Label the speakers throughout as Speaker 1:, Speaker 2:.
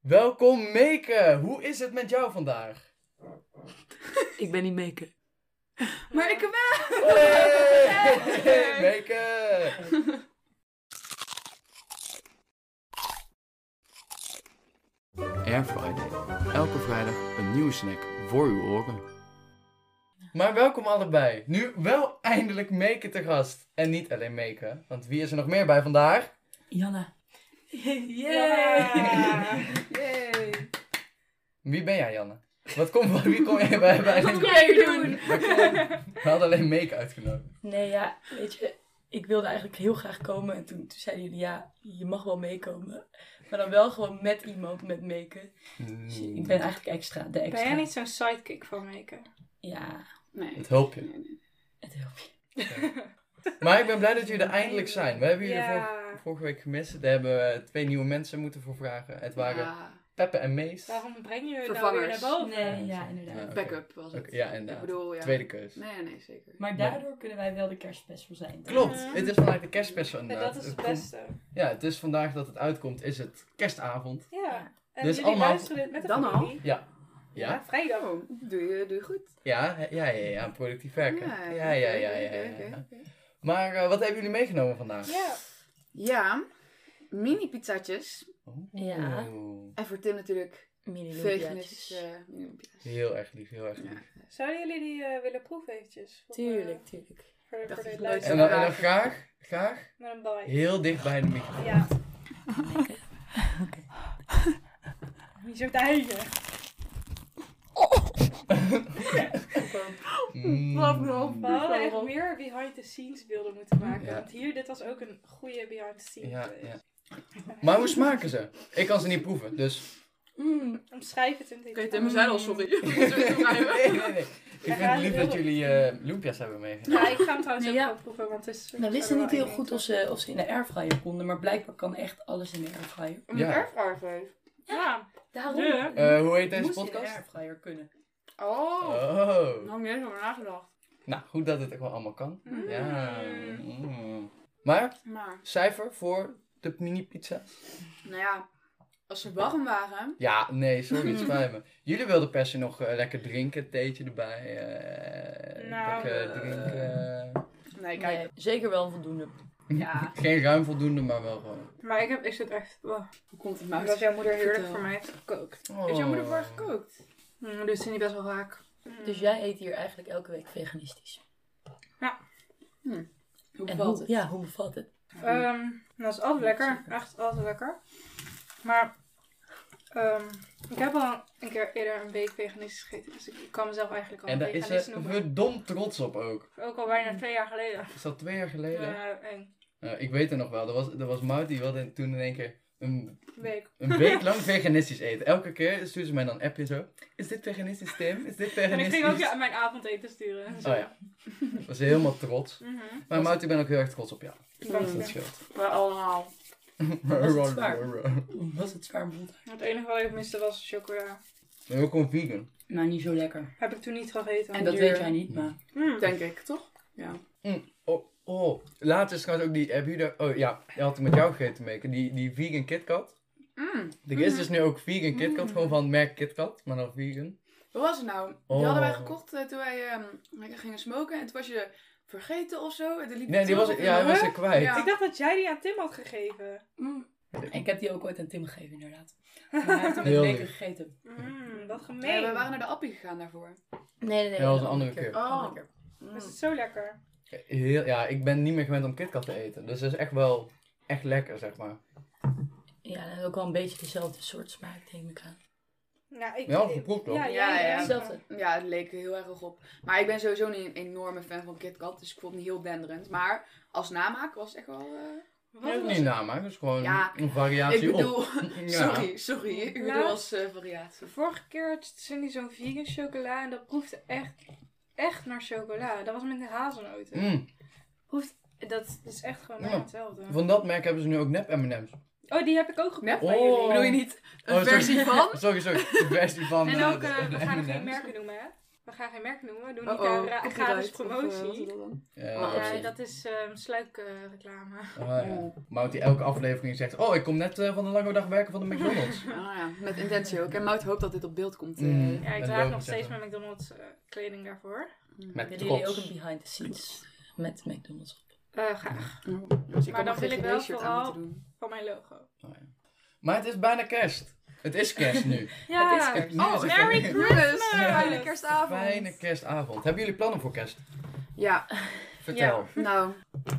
Speaker 1: Welkom Meke! Hoe is het met jou vandaag?
Speaker 2: Ik ben niet Meke.
Speaker 3: Maar ik wel.
Speaker 1: Hey! Meke! Air Friday. Elke vrijdag een nieuwe snack voor uw oren. Maar welkom allebei. Nu wel eindelijk Meke te gast. En niet alleen Meke, want wie is er nog meer bij vandaag?
Speaker 2: Janne.
Speaker 3: Yay!
Speaker 1: Wie ben jij, Janne? Wat kom, wie kom jij bij? bij
Speaker 3: Wat kom jij doen?
Speaker 1: We hadden alleen Meke uitgenodigd.
Speaker 4: Nee, ja, weet je, ik wilde eigenlijk heel graag komen. En toen, toen zeiden jullie, ja, je mag wel meekomen. Maar dan wel gewoon met iemand met meken. Dus ik ben eigenlijk extra, de extra.
Speaker 3: Ben jij niet zo'n sidekick van Meke?
Speaker 4: Ja,
Speaker 3: Nee.
Speaker 1: Het helpt je.
Speaker 4: het helpt je.
Speaker 1: Maar ik ben blij dat jullie er eindelijk zijn. We hebben jullie vorige,
Speaker 3: ja.
Speaker 1: vorige week gemist. Daar hebben we twee nieuwe mensen moeten voor vragen. Het waren
Speaker 2: Ja,
Speaker 1: Peppe en Mees.
Speaker 3: Waarom breng je het nou weer naar
Speaker 2: Vervangers.
Speaker 3: boven?
Speaker 4: Nee, ja,
Speaker 1: Ja,
Speaker 4: inderdaad.
Speaker 1: oké.
Speaker 2: backup was het.
Speaker 1: Oké, ja,
Speaker 2: Ik
Speaker 1: inderdaad.
Speaker 2: bedoel, ja.
Speaker 1: Tweede keus.
Speaker 2: Nee, nee, zeker.
Speaker 4: Maar daardoor kunnen wij wel de kerstspecial zijn.
Speaker 1: Klopt,
Speaker 3: Mhm.
Speaker 1: het is vandaag de kerstspecial.
Speaker 3: En
Speaker 1: inderdaad.
Speaker 3: dat is het
Speaker 1: Het komt-
Speaker 3: beste.
Speaker 1: Ja, het is vandaag dat het uitkomt, is het kerstavond.
Speaker 3: Ja. En
Speaker 1: Dus
Speaker 3: jullie
Speaker 1: allemaal-
Speaker 3: luisteren dit met de
Speaker 2: Dan al?
Speaker 3: familie.
Speaker 1: Ja?
Speaker 3: Vrijdag.
Speaker 2: Oh, doe je, doe je goed.
Speaker 1: Ja, hè, ja, ja, ja, productief werken. Ja, ja, ja,
Speaker 2: oké,
Speaker 1: ja. ja,
Speaker 2: oké,
Speaker 1: ja.
Speaker 2: oké, oké.
Speaker 1: Maar eh, wat hebben jullie meegenomen vandaag?
Speaker 3: Ja.
Speaker 2: Ja, mini pizzatjes.
Speaker 1: Oeh.
Speaker 4: Ja.
Speaker 2: En voor Tim natuurlijk
Speaker 4: Mini
Speaker 2: veganistische
Speaker 4: lumpiaatjes.
Speaker 2: eh, mini pizzatjes.
Speaker 1: Heel erg lief, heel erg lief.
Speaker 2: Ja.
Speaker 3: Zouden jullie die eh, willen proeven eventjes? Voor, eh,
Speaker 4: Tuurlijk, tuurlijk.
Speaker 3: voor, de-
Speaker 2: Dat
Speaker 3: voor
Speaker 2: is
Speaker 3: de
Speaker 2: leuk.
Speaker 1: En dan, en
Speaker 3: luisteraar.
Speaker 1: dan graag, graag,
Speaker 3: Met een bite.
Speaker 1: heel dicht bij de microfoon.
Speaker 3: Ja. Wie zo eigen?
Speaker 1: Mm.
Speaker 3: We hadden echt meer behind the scenes beelden moeten maken.
Speaker 1: Ja.
Speaker 3: Want hier, dit was ook een goede behind the scenes.
Speaker 1: Ja,
Speaker 3: beeld.
Speaker 1: ja. Maar hoe smaken ze? Ik kan ze niet proeven, dus...
Speaker 4: Mm.
Speaker 3: Omschrijf het in dit.
Speaker 2: Oké, Tim, we zijn al sorry. We moeten weer toerijden.
Speaker 1: nee, nee, nee. Ik
Speaker 3: Ja,
Speaker 1: vind het
Speaker 3: die
Speaker 1: lief
Speaker 3: wil
Speaker 1: dat
Speaker 3: ik.
Speaker 1: jullie eh loempia's hebben meegenomen.
Speaker 3: Ja, ik ga hem trouwens
Speaker 4: Nee,
Speaker 3: ook
Speaker 4: ja.
Speaker 3: wel proeven, want het is...
Speaker 4: We wisten niet heel goed of ze, of ze in de airfryer konden, maar blijkbaar kan echt alles in de airfryer.
Speaker 1: Om een Ja.
Speaker 3: Ja.
Speaker 4: Daarom
Speaker 3: Ja.
Speaker 1: Eh, hoe heet deze
Speaker 4: moest in de
Speaker 1: podcast?
Speaker 4: airfryer kunnen.
Speaker 2: Oh, daar
Speaker 1: Oh.
Speaker 2: had ik niet eens over nagedacht.
Speaker 1: Nou, goed dat het ook wel allemaal kan.
Speaker 3: Mm.
Speaker 1: Ja. Mm. Maar,
Speaker 2: Maar,
Speaker 1: cijfer voor de mini-pizza?
Speaker 2: nou ja, als ze warm waren,
Speaker 1: Ja, nee, sorry, het spijt me. Jullie wilden per se nog eh, lekker drinken, theetje erbij. eh,
Speaker 3: Nou,
Speaker 1: lekker
Speaker 2: eh,
Speaker 1: drinken.
Speaker 2: Nee, kijk.
Speaker 4: Nee, zeker wel voldoende.
Speaker 2: Ja.
Speaker 1: Geen ruim voldoende, maar wel gewoon.
Speaker 3: Maar ik, heb, ik zit echt... Oh,
Speaker 2: Hoe komt het
Speaker 3: dat
Speaker 2: nou?
Speaker 3: jouw moeder heerlijk
Speaker 2: Vertel.
Speaker 3: voor mij heeft gekookt.
Speaker 2: Heeft jouw moeder
Speaker 1: Oh.
Speaker 2: voor haar gekookt?
Speaker 3: Mm, dus vind ik best wel vaak. Mm.
Speaker 4: Dus jij eet hier eigenlijk elke week veganistisch.
Speaker 2: Hoe
Speaker 4: En
Speaker 2: valt
Speaker 4: hoe,
Speaker 2: het? Eh,
Speaker 4: ja, hoe bevalt het?
Speaker 3: Ehm, dat is altijd lekker. Echt altijd lekker. Maar ehm, ik heb al een keer eerder een week veganistisch gegeten. Dus ik kan mezelf eigenlijk al
Speaker 1: En
Speaker 3: een
Speaker 1: daar is
Speaker 3: veganist
Speaker 1: ze
Speaker 3: noemen.
Speaker 1: verdomd trots op ook.
Speaker 3: Ook al bijna twee jaar geleden.
Speaker 1: Is dat twee jaar geleden?
Speaker 3: Eh, een
Speaker 1: Nou, ik weet het nog wel. Er was, er was Mout die wilde toen in één keer een,
Speaker 3: week.
Speaker 1: een week lang veganistisch eten. Elke keer stuurde ze mij dan een appje zo. Is dit veganistisch, Tim? Is dit
Speaker 3: En ik
Speaker 1: veganistisch?
Speaker 3: ging ook ja, mijn avondeten sturen. en zo.
Speaker 1: Oh ja. Was helemaal trots.
Speaker 3: Mhm.
Speaker 1: Maar Mout, ik ben ook heel erg trots op jou.
Speaker 3: Dank
Speaker 1: Dat
Speaker 3: je.
Speaker 1: scheelt.
Speaker 2: Bij allemaal.
Speaker 4: Was het zwaar? Was het zwaar bond?
Speaker 3: Het enige wat ik miste was chocola.
Speaker 1: Heel gewoon vegan.
Speaker 4: Nou, niet zo lekker.
Speaker 3: Heb ik toen niet gegeten.
Speaker 4: En dat
Speaker 2: duur.
Speaker 4: weet jij niet, maar...
Speaker 3: Mm.
Speaker 2: Denk ik, toch? Ja.
Speaker 1: Oh, oh. Laatst is trouwens ook die... Heb je daar... Oh ja, die had ik met jou gegeten, Meke. Die, die vegan KitKat.
Speaker 2: Mm.
Speaker 1: Er
Speaker 3: Mhm.
Speaker 1: is dus nu ook vegan KitKat. Gewoon van het merk KitKat, maar dan vegan.
Speaker 2: Hoe was het nou? Die
Speaker 1: Oh.
Speaker 2: hadden wij gekocht eh, toen wij ehm, lekker gingen smoken. En toen was je vergeten of zo. En toen liep
Speaker 1: Nee, die
Speaker 2: terug
Speaker 1: was,
Speaker 2: op je
Speaker 1: ja, hij was
Speaker 2: rug.
Speaker 1: er kwijt.
Speaker 2: Ja.
Speaker 3: Ik dacht dat jij die aan Tim had gegeven.
Speaker 4: Ik heb die ook ooit aan Tim gegeven, inderdaad. Maar hij heeft hem in
Speaker 1: Heel
Speaker 4: de beker
Speaker 1: lief.
Speaker 4: gegeten.
Speaker 3: Mm, wat
Speaker 2: Nee,
Speaker 3: gemeen.
Speaker 2: we waren naar de appie gegaan daarvoor.
Speaker 4: Nee, nee, nee.
Speaker 1: Ja, dat was een andere keer.
Speaker 2: Oh.
Speaker 4: Andere keer.
Speaker 3: Is het zo lekker?
Speaker 1: Heel, ja, ik ben niet meer gewend om KitKat te eten. Dus dat is echt wel echt lekker, zeg maar.
Speaker 4: Ja, dat is ook wel een beetje dezelfde soort smaak, denk ik aan.
Speaker 3: Nou, ik,
Speaker 1: Wel geproefd, hoor.
Speaker 3: Ja,
Speaker 2: Ja, ja.
Speaker 4: Hetzelfde.
Speaker 2: Ja, het leek er heel erg op. Maar ik ben sowieso niet een enorme fan van KitKat. Dus ik vond het niet heel denderend. Maar als namaak was het echt wel... eh,
Speaker 1: Dat is niet namaken, dat is gewoon
Speaker 2: Ja,
Speaker 1: een variatie
Speaker 2: ik
Speaker 1: op.
Speaker 2: bedoel...
Speaker 1: Ja.
Speaker 2: Sorry, sorry. Ik
Speaker 3: Ja.
Speaker 2: bedoel als eh, variatie.
Speaker 3: Vorige keer had Cindy zo'n vegan chocola en dat proefde echt, echt naar chocola. Dat was met de hazelnoten.
Speaker 1: Mm.
Speaker 3: Proeft, dat is echt gewoon
Speaker 1: Ja.
Speaker 3: bijna hetzelfde.
Speaker 1: Van dat merk hebben ze nu ook nep M&M's.
Speaker 3: Oh, die heb ik ook geproefd
Speaker 2: Nep?
Speaker 3: bij
Speaker 1: Oh.
Speaker 3: jullie.
Speaker 2: Bedoel je niet een
Speaker 1: Oh, sorry.
Speaker 2: versie van?
Speaker 1: Sorry, sorry. De versie van
Speaker 3: En
Speaker 1: eh,
Speaker 3: ook,
Speaker 1: de-
Speaker 3: eh, we
Speaker 1: de
Speaker 3: gaan er geen
Speaker 1: M&M's.
Speaker 3: merken noemen, hè? We gaan geen merk noemen. We doen niet
Speaker 2: Oh, oh,
Speaker 3: aan ra-
Speaker 2: copyright,
Speaker 3: gratis
Speaker 2: of, eh, wat is
Speaker 3: promotie.
Speaker 2: dat dan?
Speaker 1: Ja,
Speaker 2: Oh,
Speaker 3: ja,
Speaker 1: precies.
Speaker 3: dat is ehm sluikreclame.
Speaker 1: Oh, ja. Mout die elke aflevering zegt, oh, ik kom net eh, van een lange dag werken van de McDonald's.
Speaker 2: Ah ja, met intentie ook. En Mout hoopt dat dit op beeld komt. eh.
Speaker 1: Mm.
Speaker 3: ja, ik
Speaker 1: Een
Speaker 3: draag nog
Speaker 1: logo
Speaker 3: steeds
Speaker 1: zetten.
Speaker 3: mijn McDonald's eh, kleding daarvoor.
Speaker 1: Met
Speaker 4: Willen jullie ook
Speaker 1: trots.
Speaker 4: een behind the scenes met McDonald's op?
Speaker 3: Eh, graag.
Speaker 2: Dus ik
Speaker 3: Maar
Speaker 2: had
Speaker 3: dan
Speaker 2: nog
Speaker 3: wil
Speaker 2: geen
Speaker 3: ik wel
Speaker 2: GD-shirt aan
Speaker 3: vooral-
Speaker 2: moeten doen.
Speaker 3: Van mijn logo.
Speaker 1: Maar het is bijna kerst. Het is kerst nu.
Speaker 3: Ja,
Speaker 2: Het is
Speaker 1: kerst. Nu is
Speaker 2: Oh,
Speaker 1: het
Speaker 2: Merry
Speaker 1: kerst.
Speaker 2: Christmas! Fijne
Speaker 3: Fijne
Speaker 2: kerstavond.
Speaker 1: Fijne kerstavond. Hebben jullie plannen voor kerst?
Speaker 2: Ja,
Speaker 1: Vertel.
Speaker 2: nou,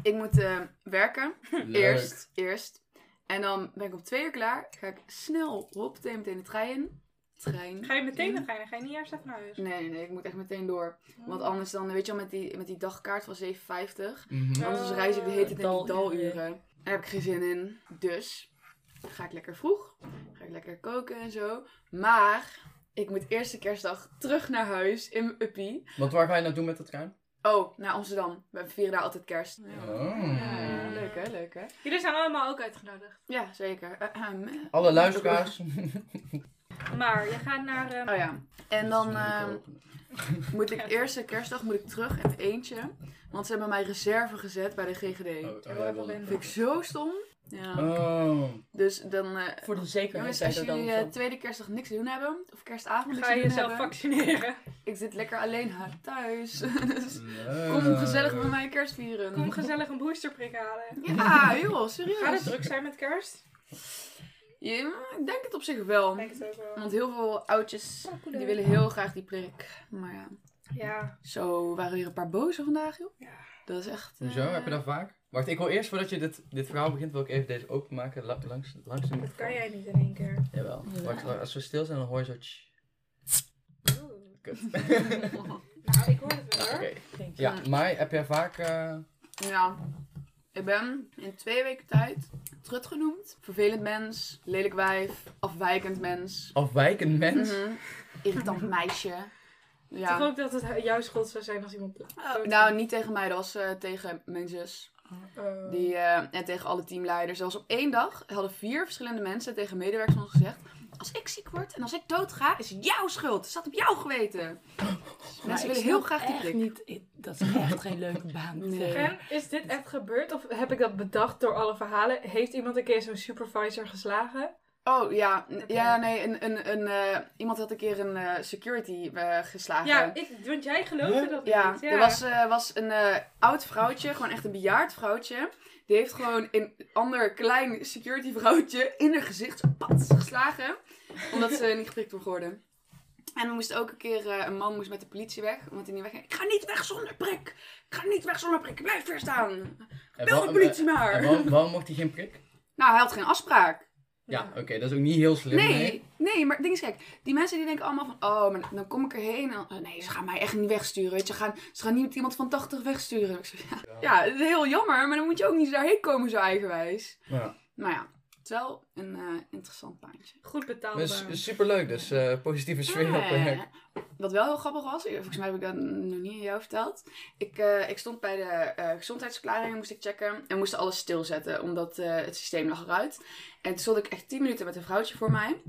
Speaker 2: ik moet eh, werken.
Speaker 1: Leuk.
Speaker 2: Eerst, eerst. En dan ben ik om twee uur klaar. Ga ik snel, hop, meteen meteen de trein in. Trein.
Speaker 3: Ga je meteen nog gaan? Ga je Oh. niet eerst even naar huis?
Speaker 2: Nee, nee, nee, ik moet echt meteen door. Want anders dan, weet je wel, met die, met die dagkaart van 7,50.
Speaker 1: Mhm.
Speaker 2: Anders reis ik de hele tijd in die
Speaker 4: Daluren.
Speaker 2: daluren. Daar heb ik geen zin in. Dus ga ik lekker vroeg. Ga ik lekker koken en zo. Maar ik moet eerste kerstdag terug naar huis in mijn uppie.
Speaker 1: Want waar ga je naartoe met dat trein?
Speaker 2: Oh, naar Amsterdam. We vieren daar altijd kerst.
Speaker 1: Oh.
Speaker 2: Ja, leuk hè, leuk hè.
Speaker 3: Jullie zijn allemaal ook uitgenodigd.
Speaker 2: Ja, zeker. Ehm, Ahem.
Speaker 1: Alle luisteraars.
Speaker 3: Maar je gaat naar... ehm,
Speaker 2: Oh ja. En dan
Speaker 1: Dat is moeilijk
Speaker 2: ehm,
Speaker 1: openen.
Speaker 2: moet ik eerste kerstdag moet ik terug in het eentje. Want ze hebben mij reserve gezet bij de GGD.
Speaker 1: Oh,
Speaker 3: heel
Speaker 1: oh, ja,
Speaker 3: erg
Speaker 1: wel.
Speaker 2: Vind ik zo stom. Ja.
Speaker 1: Oh.
Speaker 2: Dus dan... eh,
Speaker 4: Voor de zekerheid
Speaker 2: jongens,
Speaker 4: zijn
Speaker 2: als
Speaker 4: er dan
Speaker 2: jullie
Speaker 4: of zo.
Speaker 2: eh, tweede kerstdag niks te doen hebben, of kerstavond niks
Speaker 3: Ga
Speaker 2: te
Speaker 3: je
Speaker 2: doen
Speaker 3: jezelf
Speaker 2: hebben...
Speaker 3: vaccineren?
Speaker 2: Ik zit lekker alleen haar thuis. dus
Speaker 1: Leuk.
Speaker 2: kom gezellig
Speaker 1: Eh.
Speaker 2: met mij kerst vieren.
Speaker 3: Kom gezellig een boosterprik halen.
Speaker 2: Ja, joh,
Speaker 3: Gaat het
Speaker 2: serieus.
Speaker 3: druk zijn met kerst?
Speaker 2: Ja, ik denk het op zich wel.
Speaker 3: Ik denk het ook wel.
Speaker 2: Want heel veel oudjes die willen heel graag die prik. Maar ja,
Speaker 3: Ja.
Speaker 2: zo waren weer een paar bozen vandaag, joh.
Speaker 3: Ja.
Speaker 2: Dat is echt... eh,
Speaker 1: Hoezo? Heb je dat vaak? Wacht, ik wil eerst voordat je dit, dit verhaal begint, wil ik even deze openmaken. La- langs, langs de
Speaker 3: Dat kan
Speaker 1: microfoon.
Speaker 3: jij niet in één keer.
Speaker 1: Jawel.
Speaker 4: Ja.
Speaker 1: Wacht, wacht, als we stil zijn, dan hoor je zo... tsch.
Speaker 3: Oeh.
Speaker 1: Kut.
Speaker 3: Nou, ik hoor het wel
Speaker 1: Oké.
Speaker 3: hoor.
Speaker 4: Denk je?
Speaker 1: Ja, maar heb jij vaak... eh,
Speaker 2: Ja. Ik ben in twee weken tijd trut genoemd. Vervelend mens, lelijk wijf, afwijkend mens.
Speaker 1: afwijkend mens?
Speaker 2: Mhm. Irritant meisje.
Speaker 3: Ik
Speaker 2: Ja.
Speaker 3: hoop dat het jouw schuld zou zijn als iemand... dood-
Speaker 2: Nou, niet tegen mij, dat was eh, tegen mijn zus.
Speaker 3: Oh.
Speaker 2: Die, eh, en tegen alle teamleiders. Zelfs op één dag hadden vier verschillende mensen tegen medewerkers van ons gezegd... Als ik ziek word en als ik dood ga, is het jouw schuld. Het staat op jouw geweten.
Speaker 4: Maar
Speaker 2: Mensen
Speaker 4: ik
Speaker 2: willen heel
Speaker 4: snap
Speaker 2: graag die
Speaker 4: echt
Speaker 2: prik.
Speaker 4: Niet, ik- dat is echt geen leuke baan.
Speaker 2: Nee.
Speaker 3: En is dit echt gebeurd of heb ik dat bedacht door alle verhalen? Heeft iemand een keer zo'n supervisor geslagen?
Speaker 2: Oh ja, n- ja nee. Een, een, een, eh, iemand had een keer een eh, security eh, geslagen.
Speaker 3: Ja, ik, want jij geloofde
Speaker 1: Huh?
Speaker 3: dat
Speaker 2: Ja,
Speaker 3: niet.
Speaker 2: er was, eh, was een eh, oud vrouwtje, gewoon echt een bejaard vrouwtje. Die heeft gewoon een ander klein security vrouwtje in haar gezicht zo pats geslagen. Omdat ze niet geprikt kon worden. En we moesten ook een keer, eh, een man moest met de politie weg, omdat hij niet weg Ik ga niet weg zonder prik! Ik ga niet weg zonder prik, ik blijf hier staan!
Speaker 1: En
Speaker 2: Bel de
Speaker 1: wa-
Speaker 2: politie
Speaker 1: en- en
Speaker 2: maar!
Speaker 1: waarom, waarom mocht hij geen prik?
Speaker 2: Nou, hij had geen afspraak.
Speaker 1: Ja, oké, dat is ook niet heel slim.
Speaker 2: Nee, nee, maar het ding is, kijk, die mensen die denken allemaal van, oh, maar dan kom ik erheen. En, dan- eh, nee, ze gaan mij echt niet wegsturen, weet je. Ze gaan, ze gaan niet iemand van 80 wegsturen. Ik zeg, Ja, dat is heel jammer, maar dan moet je ook niet daarheen komen zo eigenwijs.
Speaker 1: Ja.
Speaker 2: Maar ja, het is wel een eh, interessant baantje.
Speaker 3: Goed betaald.
Speaker 1: Maar
Speaker 3: eh.
Speaker 1: su- superleuk, dus eh, positieve sfeer op
Speaker 2: Eh,
Speaker 1: werk.
Speaker 2: wat wel heel grappig was, volgens mij heb ik dat nog niet aan jou verteld. Ik, eh, ik stond bij de eh gezondheidsverklaringen, moest ik checken. En moest alles stilzetten, omdat eh, het systeem lag eruit. En toen stond ik echt 10 minuten met een vrouwtje voor mij.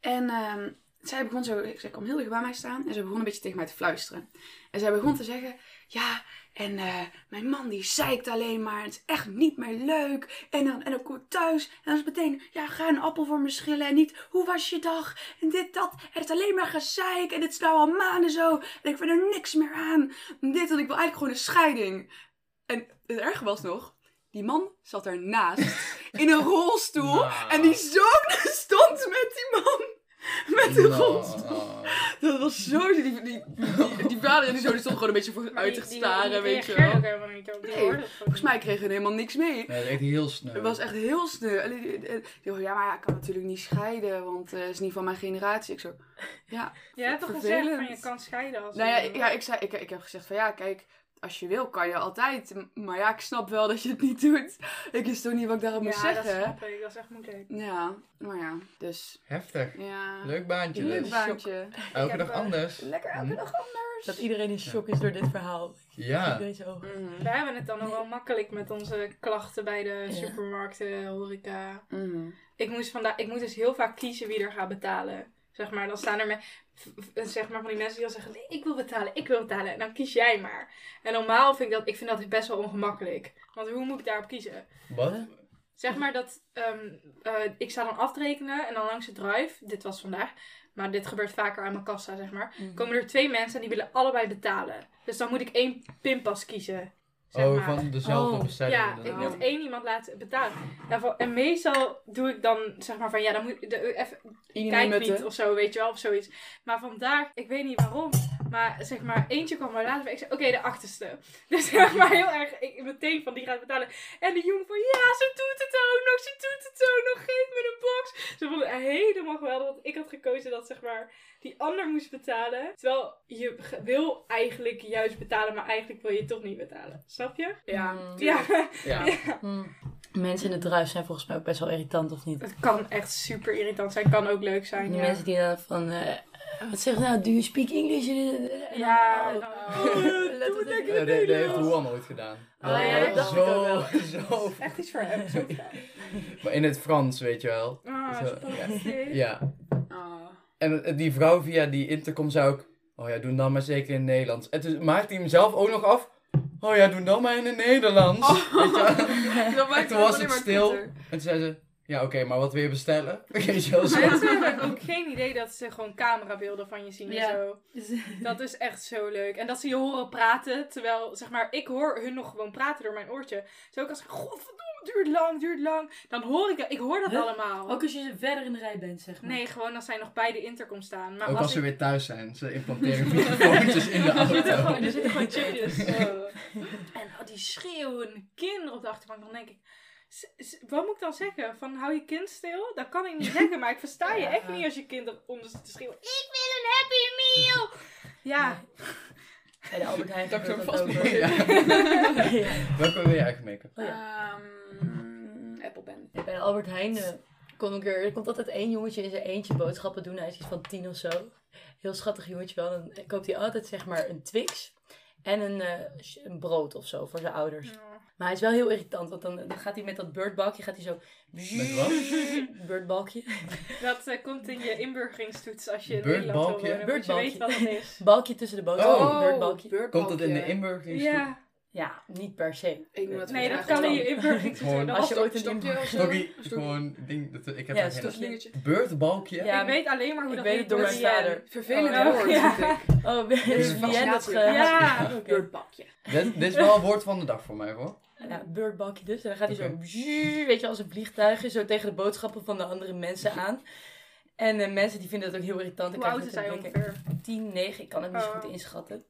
Speaker 2: En ehm, zij begon zo, zij kwam heel dicht bij mij staan. En zij begon een beetje tegen mij te fluisteren. En zij begon te zeggen, ja, en eh, mijn man die zeikt alleen maar. Het is echt niet meer leuk. En dan, en dan kom ik thuis. En dan is het meteen, ja, ga een appel voor me schillen. En niet, hoe was je dag? En dit, dat. En het is alleen maar gezeik. En dit is nou al maanden zo. En ik vind er niks meer aan. En Dit, en ik wil eigenlijk gewoon een scheiding. En het erge was nog, die man zat ernaast. in een rolstoel.
Speaker 1: Nou.
Speaker 2: En die zoon stond met die man. Met de rolstoel.
Speaker 1: Nou.
Speaker 2: Dat was zo... Die, die, die, die, die vader en die zoon die stonden gewoon een beetje
Speaker 3: Maar
Speaker 2: vooruit
Speaker 3: die-
Speaker 2: te
Speaker 3: die-
Speaker 2: staren,
Speaker 3: die
Speaker 2: weet je
Speaker 3: reageerde
Speaker 2: wel.
Speaker 3: ook helemaal niet op. Die
Speaker 2: Nee,
Speaker 3: hoorde het gewoon
Speaker 2: Volgens mij kregen we helemaal niks mee.
Speaker 1: Nee, dat is echt heel snel.
Speaker 2: Het was echt heel sneu. Alleen, die- die- die- Ja, maar ja, ik kan natuurlijk niet scheiden, want eh, het is niet van mijn generatie. Ik zo,
Speaker 3: niet. Je hebt toch
Speaker 2: vervelend.
Speaker 3: gezegd van je kan scheiden als...
Speaker 2: nou ja,
Speaker 3: een-
Speaker 2: ik- ja ik, zei, ik, ik heb gezegd van ja, kijk, als je wil kan je altijd. M- Maar ja, ik snap wel dat je het niet doet. Ik wist toch niet wat ik daarop moest
Speaker 3: Ja, dat
Speaker 2: zeggen.
Speaker 3: snap ik. Dat is echt moeilijk.
Speaker 2: Ja, maar ja, dus
Speaker 1: Heftig.
Speaker 2: ja.
Speaker 1: Leuk baantje
Speaker 2: Leuk
Speaker 1: dus.
Speaker 2: baantje.
Speaker 1: Elke
Speaker 3: Ik
Speaker 1: dag
Speaker 3: heb, eh,
Speaker 1: anders.
Speaker 2: Lekker elke
Speaker 1: Hm?
Speaker 2: dag anders.
Speaker 4: Dat iedereen in shock is door dit verhaal.
Speaker 1: Ja.
Speaker 4: Iedereen zo.
Speaker 2: Mhm.
Speaker 3: Wij hebben het dan nog wel makkelijk met onze klachten bij de
Speaker 4: Ja.
Speaker 3: supermarkten, horeca.
Speaker 2: Mhm.
Speaker 3: Ik, moest vandaag, ik moet dus heel vaak kiezen wie er gaat betalen. Zeg maar, dan staan er me- v- v- zeg maar van die mensen die dan zeggen, nee, ik wil betalen, ik wil betalen. En dan kies jij maar. En normaal vind ik dat, ik vind dat best wel ongemakkelijk. Want hoe moet ik daarop kiezen?
Speaker 1: Wat?
Speaker 3: Zeg maar dat ehm, eh, ik sta dan afrekenen en dan langs de drive, dit was vandaag, maar dit gebeurt vaker aan mijn kassa, zeg maar. Komen er twee mensen en die willen allebei betalen. Dus dan moet ik één pinpas kiezen. Zeg
Speaker 1: oh,
Speaker 3: maar.
Speaker 1: van dezelfde
Speaker 4: Oh.
Speaker 1: bestelling.
Speaker 3: Ja, ik
Speaker 1: inderdaad.
Speaker 3: moet één iemand laten betalen. Daarvoor- En meestal doe ik dan zeg maar van ja, dan moet de, even
Speaker 4: Iedereen
Speaker 3: kijk
Speaker 4: met
Speaker 3: niet of zo, weet je wel, of zoiets. Maar vandaag, ik weet niet waarom, maar zeg maar eentje kwam maar later. bij. Ik zei, oké, de achterste. Dus zeg maar heel erg, ik, meteen van die gaat betalen. En de jongen van, ja, ze doet het ook nog, ze doet het ook nog, geef me de box. Ze vond het helemaal geweldig, want ik had gekozen dat zeg maar die ander moest betalen. Terwijl je ge- wil eigenlijk juist betalen, maar eigenlijk wil je toch niet betalen. Snap je?
Speaker 2: Ja.
Speaker 4: Mm.
Speaker 3: Ja,
Speaker 1: Ja.
Speaker 4: Mm. Mensen in de druif zijn volgens mij ook best wel irritant, of niet?
Speaker 3: het kan echt super irritant zijn, kan ook leuk zijn.
Speaker 4: Die
Speaker 3: Ja.
Speaker 4: mensen die dan van... eh, wat zegt nou? Do you speak English?
Speaker 3: Ja,
Speaker 4: Oh.
Speaker 3: dan-
Speaker 4: Let op
Speaker 1: Eh, dat- dat heeft Juan ooit gedaan. Dat
Speaker 4: Oh, ja,
Speaker 1: was
Speaker 4: dat dacht ik ook
Speaker 1: zo,
Speaker 4: wel.
Speaker 1: zo.
Speaker 3: echt iets voor hem. Zo
Speaker 1: Maar in het Frans, weet je wel.
Speaker 3: Ah,
Speaker 1: Zo,
Speaker 3: fantastisch.
Speaker 1: Ja.
Speaker 2: Oh.
Speaker 1: En eh, die vrouw via die intercom zei ook... Oh ja, doe dan maar zeker in het Nederlands. En toen maakte hij hem zelf ook nog af. Oh ja, doe dan maar in het Nederlands. Weet je wel?
Speaker 2: Dat maakt
Speaker 1: toen
Speaker 2: het
Speaker 1: was
Speaker 2: alleen
Speaker 1: het
Speaker 2: maar
Speaker 1: stil.
Speaker 2: kutter.
Speaker 1: En toen zei ze... Ja, oké, maar wat wil je bestellen? Weet je wel zo.
Speaker 3: Mensen hebben ook geen idee dat ze gewoon camerabeelden van je zien
Speaker 4: Ja.
Speaker 3: en zo. Dat is echt zo leuk. En dat ze je horen praten, terwijl, zeg maar, ik hoor hun nog gewoon praten door mijn oortje. Zo ook als, godverdomme, duurt lang, duurt lang. Dan hoor ik dat, ik hoor dat
Speaker 4: Huh?
Speaker 3: allemaal.
Speaker 4: Ook als je verder in de rij bent, zeg maar.
Speaker 3: Nee, gewoon als zij nog bij de intercom staan. Maar
Speaker 1: Ook
Speaker 3: als,
Speaker 1: als ze
Speaker 3: ik...
Speaker 1: weer thuis zijn. Ze implanteren microfoontjes in de
Speaker 3: Er zitten
Speaker 1: auto.
Speaker 3: gewoon, er zitten gewoon chipjes. zo. en oh, die schreeuwen kinderen op de achterbank. Dan denk ik, "Z- z- wat moet ik dan zeggen? Van hou je kind stil? Dat kan ik niet zeggen, maar ik versta je
Speaker 4: Ja.
Speaker 3: echt niet als je kind eronder zit te schreeuwen. Ik wil een happy meal! Ja,
Speaker 4: Bij de Albert Heijn
Speaker 1: Dat ik
Speaker 4: gebeurt
Speaker 1: zo vast
Speaker 4: ook
Speaker 1: mee.
Speaker 4: wel. Ja.
Speaker 1: Welke wil je eigenlijk maken?
Speaker 4: Oh ja.
Speaker 2: Ehm, Apple Pen.
Speaker 4: Bij de Albert Heijn eh, kon ik er, er komt altijd één jongetje in zijn eentje boodschappen doen. Hij is iets van tien of zo. Heel schattig jongetje wel. Dan koopt hij altijd zeg maar een Twix en een, eh, sh- een brood of zo voor zijn ouders. Maar hij is wel heel irritant, want dan, dan gaat hij met dat beurtbalkje, gaat hij zo...
Speaker 1: Met wat?
Speaker 4: Beurtbalkje?
Speaker 3: dat eh, komt in je inburgeringstoets als je in
Speaker 1: Birdbalkje?
Speaker 3: Nederland wil wonen, want je
Speaker 4: Birdbalkje.
Speaker 3: weet wat het is.
Speaker 4: Balkje tussen de boodschappen,
Speaker 1: Oh.
Speaker 4: een beurtbalkje.
Speaker 1: Komt dat in de inburgering?
Speaker 3: Ja,
Speaker 4: Ja, niet per se.
Speaker 2: Ik noem dat
Speaker 3: nee, dat
Speaker 2: graag
Speaker 3: kan in
Speaker 2: een
Speaker 3: je inburgeringstoets.
Speaker 1: Gewoon-
Speaker 3: worden.
Speaker 4: Als je ooit een
Speaker 2: stokje of zo.
Speaker 1: Sorry,
Speaker 2: Stokje.
Speaker 1: gewoon ding. Dat, ik heb
Speaker 4: Ja,
Speaker 1: daar geen
Speaker 4: stop-
Speaker 2: Slingetje.
Speaker 1: Beurtbalkje?
Speaker 4: Ja,
Speaker 3: ik weet alleen maar hoe
Speaker 4: ik
Speaker 3: dat
Speaker 4: weet
Speaker 3: heet
Speaker 4: het door mijn
Speaker 3: Vienne.
Speaker 4: vader.
Speaker 2: Vervelend
Speaker 3: Oh,
Speaker 2: woord,
Speaker 3: ja.
Speaker 2: vind ik.
Speaker 4: Oh, Vienne dat
Speaker 2: fascinatie.
Speaker 4: ge...
Speaker 3: Ja.
Speaker 4: Oké.
Speaker 2: Beurtbakje.
Speaker 1: Dit, dit is wel een woord van de dag voor mij hoor.
Speaker 4: Ja, beurtbalkje dus. En dan gaat hij zo, bzzz, weet je, als een vliegtuigje, zo tegen de boodschappen van de andere mensen aan. En eh, mensen die vinden dat ook heel irritant.
Speaker 3: Hoe oud is hij ongeveer?
Speaker 4: 10, 9, ik kan het niet zo
Speaker 3: Oh.
Speaker 4: goed inschatten.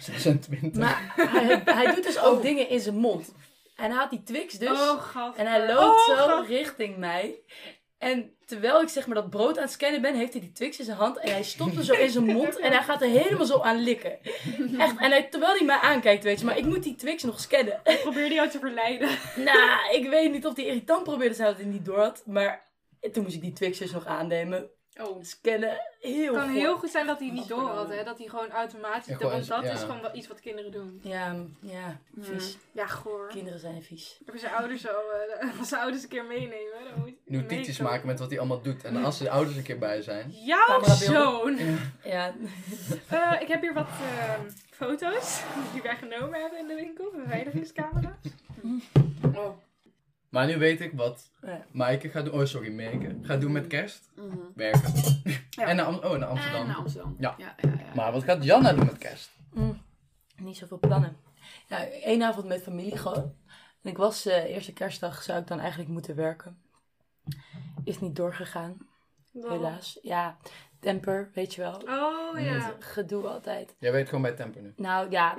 Speaker 1: 26.
Speaker 4: Maar hij, hij doet dus ook dingen in zijn mond. En hij had die Twix dus.
Speaker 3: oh, god.
Speaker 4: en hij loopt zo richting mij. En terwijl ik zeg maar dat brood aan het scannen ben, heeft hij die Twix in zijn hand. En hij stopt hem zo in zijn mond. En hij gaat er helemaal zo aan likken. Echt, en hij, terwijl hij mij aankijkt, weet je. Maar ik moet die Twix nog scannen.
Speaker 3: Ik probeer jou te verleiden.
Speaker 4: Nou, ik weet niet of die irritant probeerde te zijn dat hij niet door had. Maar toen moest ik die Twix dus nog aannemen.
Speaker 2: Oh.
Speaker 4: Scannen. Heel
Speaker 3: Het kan
Speaker 4: goed.
Speaker 3: heel goed zijn dat hij niet door had, hè? Dat hij gewoon automatisch.
Speaker 1: Ja, gewoon
Speaker 3: want
Speaker 1: is-
Speaker 3: dat
Speaker 1: ja.
Speaker 3: is gewoon wel iets wat kinderen doen.
Speaker 4: Ja, ja, vies.
Speaker 3: Ja, goor.
Speaker 4: Kinderen zijn vies.
Speaker 3: Als zijn ouders al, eh, als zijn ouders een keer meenemen, dan moet
Speaker 1: Nu tietjes maken met wat hij allemaal doet. En als de ouders een keer bij zijn.
Speaker 3: Jouw zoon!
Speaker 4: Camerabeelden. Ja,
Speaker 3: Eh, ik heb hier wat ehm, foto's die wij genomen hebben in de winkel, beveiligingscamera.
Speaker 2: Oh.
Speaker 1: Maar nu weet ik wat
Speaker 4: Ja.
Speaker 1: Maaike gaat doen. Oh, sorry, Maaike. Gaat doen met kerst.
Speaker 2: Mhm.
Speaker 1: Werken.
Speaker 3: Ja.
Speaker 1: En naar, Am- oh, naar Amsterdam.
Speaker 2: En naar Amsterdam.
Speaker 1: Ja.
Speaker 2: ja, ja, ja.
Speaker 1: Maar wat gaat Janna doen met kerst?
Speaker 4: Mm, niet zoveel plannen. Nou, één avond met familie gewoon. En ik was eh, eerste kerstdag, zou ik dan eigenlijk moeten werken. Is niet doorgegaan, helaas. Ja, temper, weet je wel.
Speaker 3: Oh ja.
Speaker 4: Gedoe altijd.
Speaker 1: Jij weet gewoon bij Temper nu.
Speaker 4: Nou ja,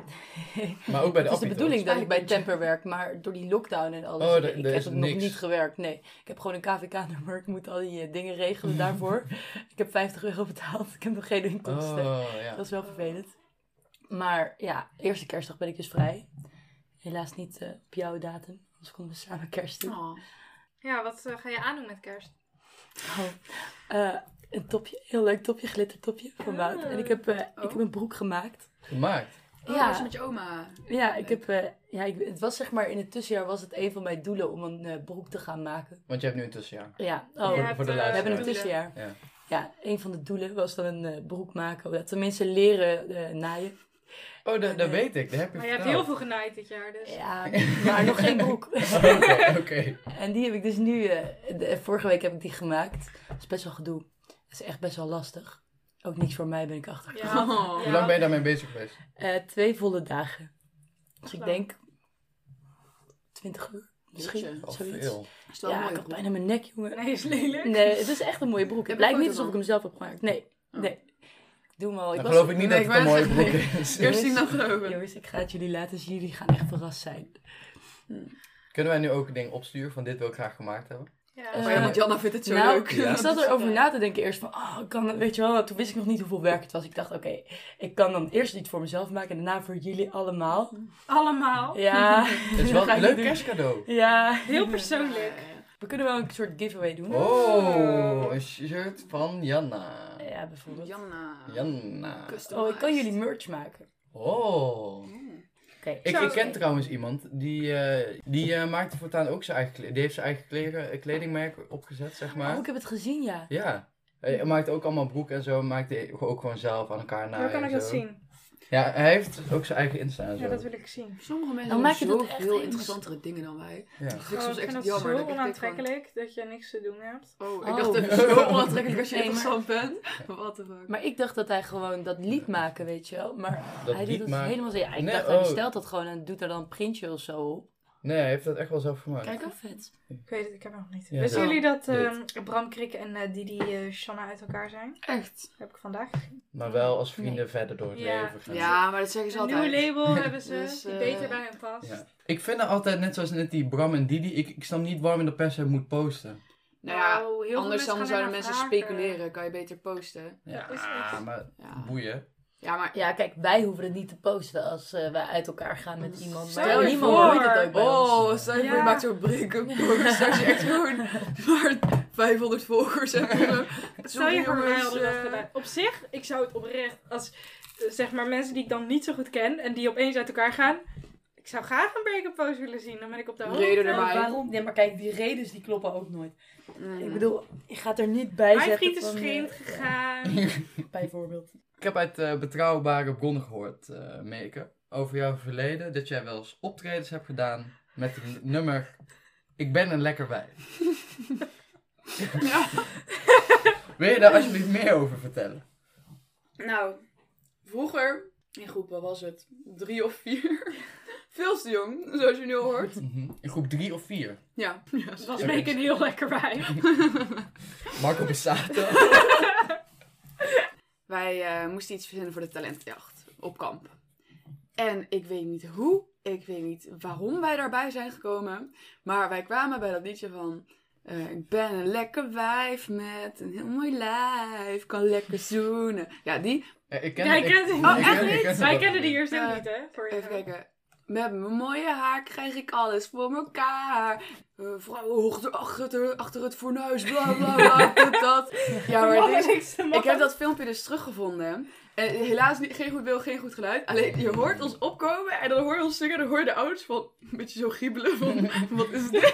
Speaker 1: Maar ook bij de
Speaker 4: Het is de
Speaker 1: Appie,
Speaker 4: bedoeling dat ik bij
Speaker 2: Eilandje.
Speaker 4: Temper werk, maar door die lockdown en alles,
Speaker 1: Oh,
Speaker 4: ik-
Speaker 1: er-
Speaker 4: ik
Speaker 1: er
Speaker 4: heb
Speaker 1: is
Speaker 4: het nog
Speaker 1: niks.
Speaker 4: niet gewerkt. Nee, ik heb gewoon een KVK-nummer, ik moet al die eh, dingen regelen daarvoor. ik heb 50 euro betaald, ik heb nog geen
Speaker 1: toch?
Speaker 4: inkomsten.
Speaker 1: Oh, ja.
Speaker 4: Dat is wel vervelend. Maar ja, eerste kerstdag ben ik dus vrij. Helaas niet eh, op jouw datum, anders konden we samen kerst doen.
Speaker 2: Oh.
Speaker 3: Ja, wat eh, ga je aandoen met kerst?
Speaker 4: Oh, eh, een topje, heel leuk topje, glittertopje
Speaker 1: Ah,
Speaker 4: van Wout. En ik heb, eh,
Speaker 1: oh.
Speaker 4: ik heb een broek gemaakt.
Speaker 1: Gemaakt.
Speaker 2: Oh, dat was met je oma.
Speaker 4: Ja, ik heb, eh, ja ik, het was zeg maar in het tussenjaar was het een van mijn doelen om een eh, broek te gaan maken.
Speaker 1: Want je hebt nu een tussenjaar.
Speaker 4: Ja, oh,
Speaker 1: Ja. voor de luisteraar.
Speaker 3: eh,
Speaker 4: we hebben een
Speaker 3: doelen.
Speaker 4: tussenjaar.
Speaker 1: Ja.
Speaker 4: ja, een van de doelen was dan een eh, broek maken. Zodat de mensen leren eh, naaien.
Speaker 1: Oh, dat, dat weet ik. Dat heb je
Speaker 3: Maar je hebt heel
Speaker 1: verteld.
Speaker 3: veel genaaid dit jaar, dus.
Speaker 4: Ja, maar nog geen broek.
Speaker 1: Oké, oké.
Speaker 4: En die heb ik dus nu, eh, de- vorige week heb ik die gemaakt. Dat is best wel gedoe. Dat is echt best wel lastig. Ook niks voor mij ben ik achter.
Speaker 3: Ja.
Speaker 2: Oh.
Speaker 1: Hoe lang ben je daarmee bezig geweest?
Speaker 4: Eh, twee volle dagen. Dus ik
Speaker 3: Zo.
Speaker 4: denk 20 uur misschien.
Speaker 2: Jeetje,
Speaker 1: Al
Speaker 4: zoiets.
Speaker 1: veel.
Speaker 2: Is wel
Speaker 4: Ja,
Speaker 2: mooi.
Speaker 4: ik had bijna mijn nek, jongen.
Speaker 3: Nee, is lelijk.
Speaker 4: Nee, het is echt een mooie broek.
Speaker 2: Heb
Speaker 4: Het
Speaker 2: je
Speaker 4: lijkt niet
Speaker 2: foto
Speaker 4: alsof ik
Speaker 2: van?
Speaker 4: hem zelf heb gemaakt. Nee,
Speaker 2: Oh.
Speaker 4: nee. Ik doe hem al. Ik
Speaker 1: Dan
Speaker 4: was-
Speaker 1: geloof ik niet
Speaker 2: Nee,
Speaker 1: dat
Speaker 2: ik
Speaker 1: het een
Speaker 2: wou
Speaker 1: mooie broek
Speaker 2: zeggen,
Speaker 1: is.
Speaker 2: Eerst zien dan
Speaker 4: Jongens,
Speaker 2: geloven.
Speaker 4: Jongens, ik ga het jullie laten zien. Jullie gaan echt verrast zijn.
Speaker 1: Kunnen wij nu ook een ding opsturen van dit wil ik graag gemaakt hebben?
Speaker 3: Ja.
Speaker 4: Eh,
Speaker 2: Maar Oh ja, want Janna vindt het zo
Speaker 4: nou,
Speaker 2: leuk.
Speaker 1: ja.
Speaker 4: Ik zat erover na te denken eerst van, ah, ik kan, weet je wel, toen wist ik nog niet hoeveel werk het was. Ik dacht, oké, ik kan dan eerst iets voor mezelf maken en daarna voor jullie allemaal.
Speaker 1: Oh.
Speaker 3: Allemaal.
Speaker 4: Ja.
Speaker 1: Het is
Speaker 4: dat
Speaker 1: wel
Speaker 4: ga
Speaker 1: een
Speaker 4: ik
Speaker 1: leuk
Speaker 4: doen.
Speaker 1: kerstcadeau.
Speaker 4: Ja.
Speaker 3: Heel persoonlijk.
Speaker 4: We kunnen wel een soort giveaway doen.
Speaker 1: Oh, een shirt van Janna.
Speaker 4: Ja, bijvoorbeeld.
Speaker 2: Janna.
Speaker 1: Janna.
Speaker 4: Oh, ik kan jullie merch maken.
Speaker 1: Oh.
Speaker 2: Hmm.
Speaker 4: Oké.
Speaker 1: Ik,
Speaker 3: Zo.
Speaker 1: ik ken trouwens iemand die, eh, die eh, maakte voortaan ook zijn eigen kleding. Die heeft zijn eigen kleren, eh, kledingmerk opgezet, zeg maar.
Speaker 4: Oh, ik heb het gezien, ja.
Speaker 1: Ja. Hij maakt ook allemaal broek en zo. Maakt hij ook gewoon zelf aan elkaar na.
Speaker 3: Waar kan ik dat zien?
Speaker 1: Ja, hij heeft ook zijn eigen Insta en zo.
Speaker 3: Ja, dat wil ik zien.
Speaker 2: Sommige mensen
Speaker 4: Dan maak je
Speaker 2: doen
Speaker 4: dat echt
Speaker 2: zoveel
Speaker 4: helemaal-
Speaker 2: interessantere dingen dan wij.
Speaker 1: Ja.
Speaker 2: Dat
Speaker 3: Oh,
Speaker 2: vind ik soms
Speaker 3: ik vind
Speaker 2: echt
Speaker 3: dat
Speaker 2: jammer.
Speaker 3: zo
Speaker 2: dat ik echt denk van,
Speaker 3: onaantrekkelijk dat je niks te doen hebt.
Speaker 2: Oh,
Speaker 4: Oh.
Speaker 2: ik dacht even zo onaantrekkelijk als je
Speaker 4: Nee, maar-
Speaker 2: interessant bent. What the fuck.
Speaker 4: Maar ik dacht dat hij gewoon dat lied maken, weet je wel. Maar
Speaker 1: Dat
Speaker 4: hij
Speaker 1: lied
Speaker 4: doet dat
Speaker 1: maakt-
Speaker 4: helemaal zo. Ja, ik
Speaker 1: Nee,
Speaker 4: dacht, hij
Speaker 1: oh.
Speaker 4: bestelt dat gewoon en doet er dan een printje of zo op.
Speaker 1: Nee, hij heeft dat echt wel zelf gemaakt.
Speaker 2: Kijk af.
Speaker 4: vet.
Speaker 3: Ik weet het, ik heb het nog niet.
Speaker 1: Ja,
Speaker 3: Wisten
Speaker 2: dat-
Speaker 3: jullie dat
Speaker 1: dat-
Speaker 3: ehm, Bram Krikke en eh, Didi eh, Shanna uit elkaar zijn?
Speaker 2: Echt.
Speaker 3: Dat heb ik vandaag gezien.
Speaker 1: Maar wel als vrienden verder door het
Speaker 3: Ja.
Speaker 1: leven gaan.
Speaker 2: Ja, maar dat zeggen ze
Speaker 3: Een
Speaker 2: altijd.
Speaker 3: nieuw label hebben ze,
Speaker 2: Dus,
Speaker 3: die
Speaker 2: eh,
Speaker 3: beter bij hen past.
Speaker 1: Ja. Ik vind er altijd, net zoals net die Bram en Didi, ik, ik snap niet waarom je dat per se moet posten.
Speaker 2: Nou ja,
Speaker 3: Wauw, heel veel
Speaker 2: anders dan
Speaker 3: gaan
Speaker 2: zouden
Speaker 3: ernaar
Speaker 2: mensen
Speaker 3: vragen.
Speaker 2: speculeren. Kan je beter posten.
Speaker 3: Ja, is echt.
Speaker 1: maar
Speaker 2: Ja,
Speaker 1: boeien.
Speaker 2: ja maar...
Speaker 4: Ja, kijk, wij hoeven het niet te posten als eh, wij uit elkaar gaan met iemand.
Speaker 2: Stel
Speaker 4: Maar
Speaker 2: je
Speaker 4: niemand
Speaker 2: voor.
Speaker 4: hoort het ook bij ons.
Speaker 2: Oh, stel je voor, je
Speaker 3: Ja.
Speaker 2: maakt zo'n break-up post. Dat je echt gewoon maar 500 volgers hebt.
Speaker 3: Stel je voor, wij
Speaker 2: jongens,
Speaker 3: hadden dat
Speaker 2: eh,
Speaker 3: gedaan. Op zich, ik zou het oprecht als eh, zeg maar mensen die ik dan niet zo goed ken en die opeens uit elkaar gaan. Ik zou graag een break-up pose willen zien. Dan ben ik op de hoogte.
Speaker 2: Reden erbij.
Speaker 4: Waarom? Nee, maar kijk, die redens die kloppen ook nooit.
Speaker 2: mm.
Speaker 4: Ik bedoel, ik ga het er niet bij
Speaker 3: Mijn
Speaker 4: zetten
Speaker 3: vriend is
Speaker 4: van,
Speaker 3: vreemd
Speaker 4: eh,
Speaker 3: gegaan.
Speaker 4: Bijvoorbeeld.
Speaker 1: Ik heb uit eh, betrouwbare bronnen gehoord, eh Meke, over jouw verleden, dat jij wel eens optredens hebt gedaan met het n- nummer Ik ben een lekker wijf.
Speaker 2: Ja.
Speaker 1: Wil je daar alsjeblieft meer over vertellen?
Speaker 2: Nou, vroeger, in groep, wat was het? Drie of vier. Veel te jong, zoals je nu al hoort.
Speaker 1: Mhm. In groep 3 of 4.
Speaker 2: Ja.
Speaker 3: Dat was Meek een heel lekker bij.
Speaker 1: Marco Bussato.
Speaker 2: Wij eh, moesten iets verzinnen voor de talentenjacht op kamp. En ik weet niet hoe, ik weet niet waarom wij daarbij zijn gekomen. Maar wij kwamen bij dat liedje van... eh, ik ben een lekker wijf met een heel mooi lijf, kan lekker zoenen. Ja, die.
Speaker 1: Ja, ik ken
Speaker 3: Jij
Speaker 1: ik-
Speaker 3: kent het
Speaker 2: Oh,
Speaker 1: ik
Speaker 2: echt
Speaker 1: ken- ik
Speaker 2: niet?
Speaker 1: ken het
Speaker 3: Wij
Speaker 1: wel.
Speaker 3: kennen die eerst ook
Speaker 2: Eh,
Speaker 3: niet, hè? Voor
Speaker 2: Even kijken. Met mijn mooie haar krijg ik alles voor elkaar. Eh, vrouwen hoogte achter, achter het fornuis, bla bla bla, dit, dat. Ja, maar dit, Ik heb dat filmpje dus teruggevonden. En helaas niet, geen goed beeld, geen goed geluid. Alleen je hoort ons opkomen en dan hoor je ons zingen. Dan hoor je de ouders van een beetje zo giebelen van wat is dit?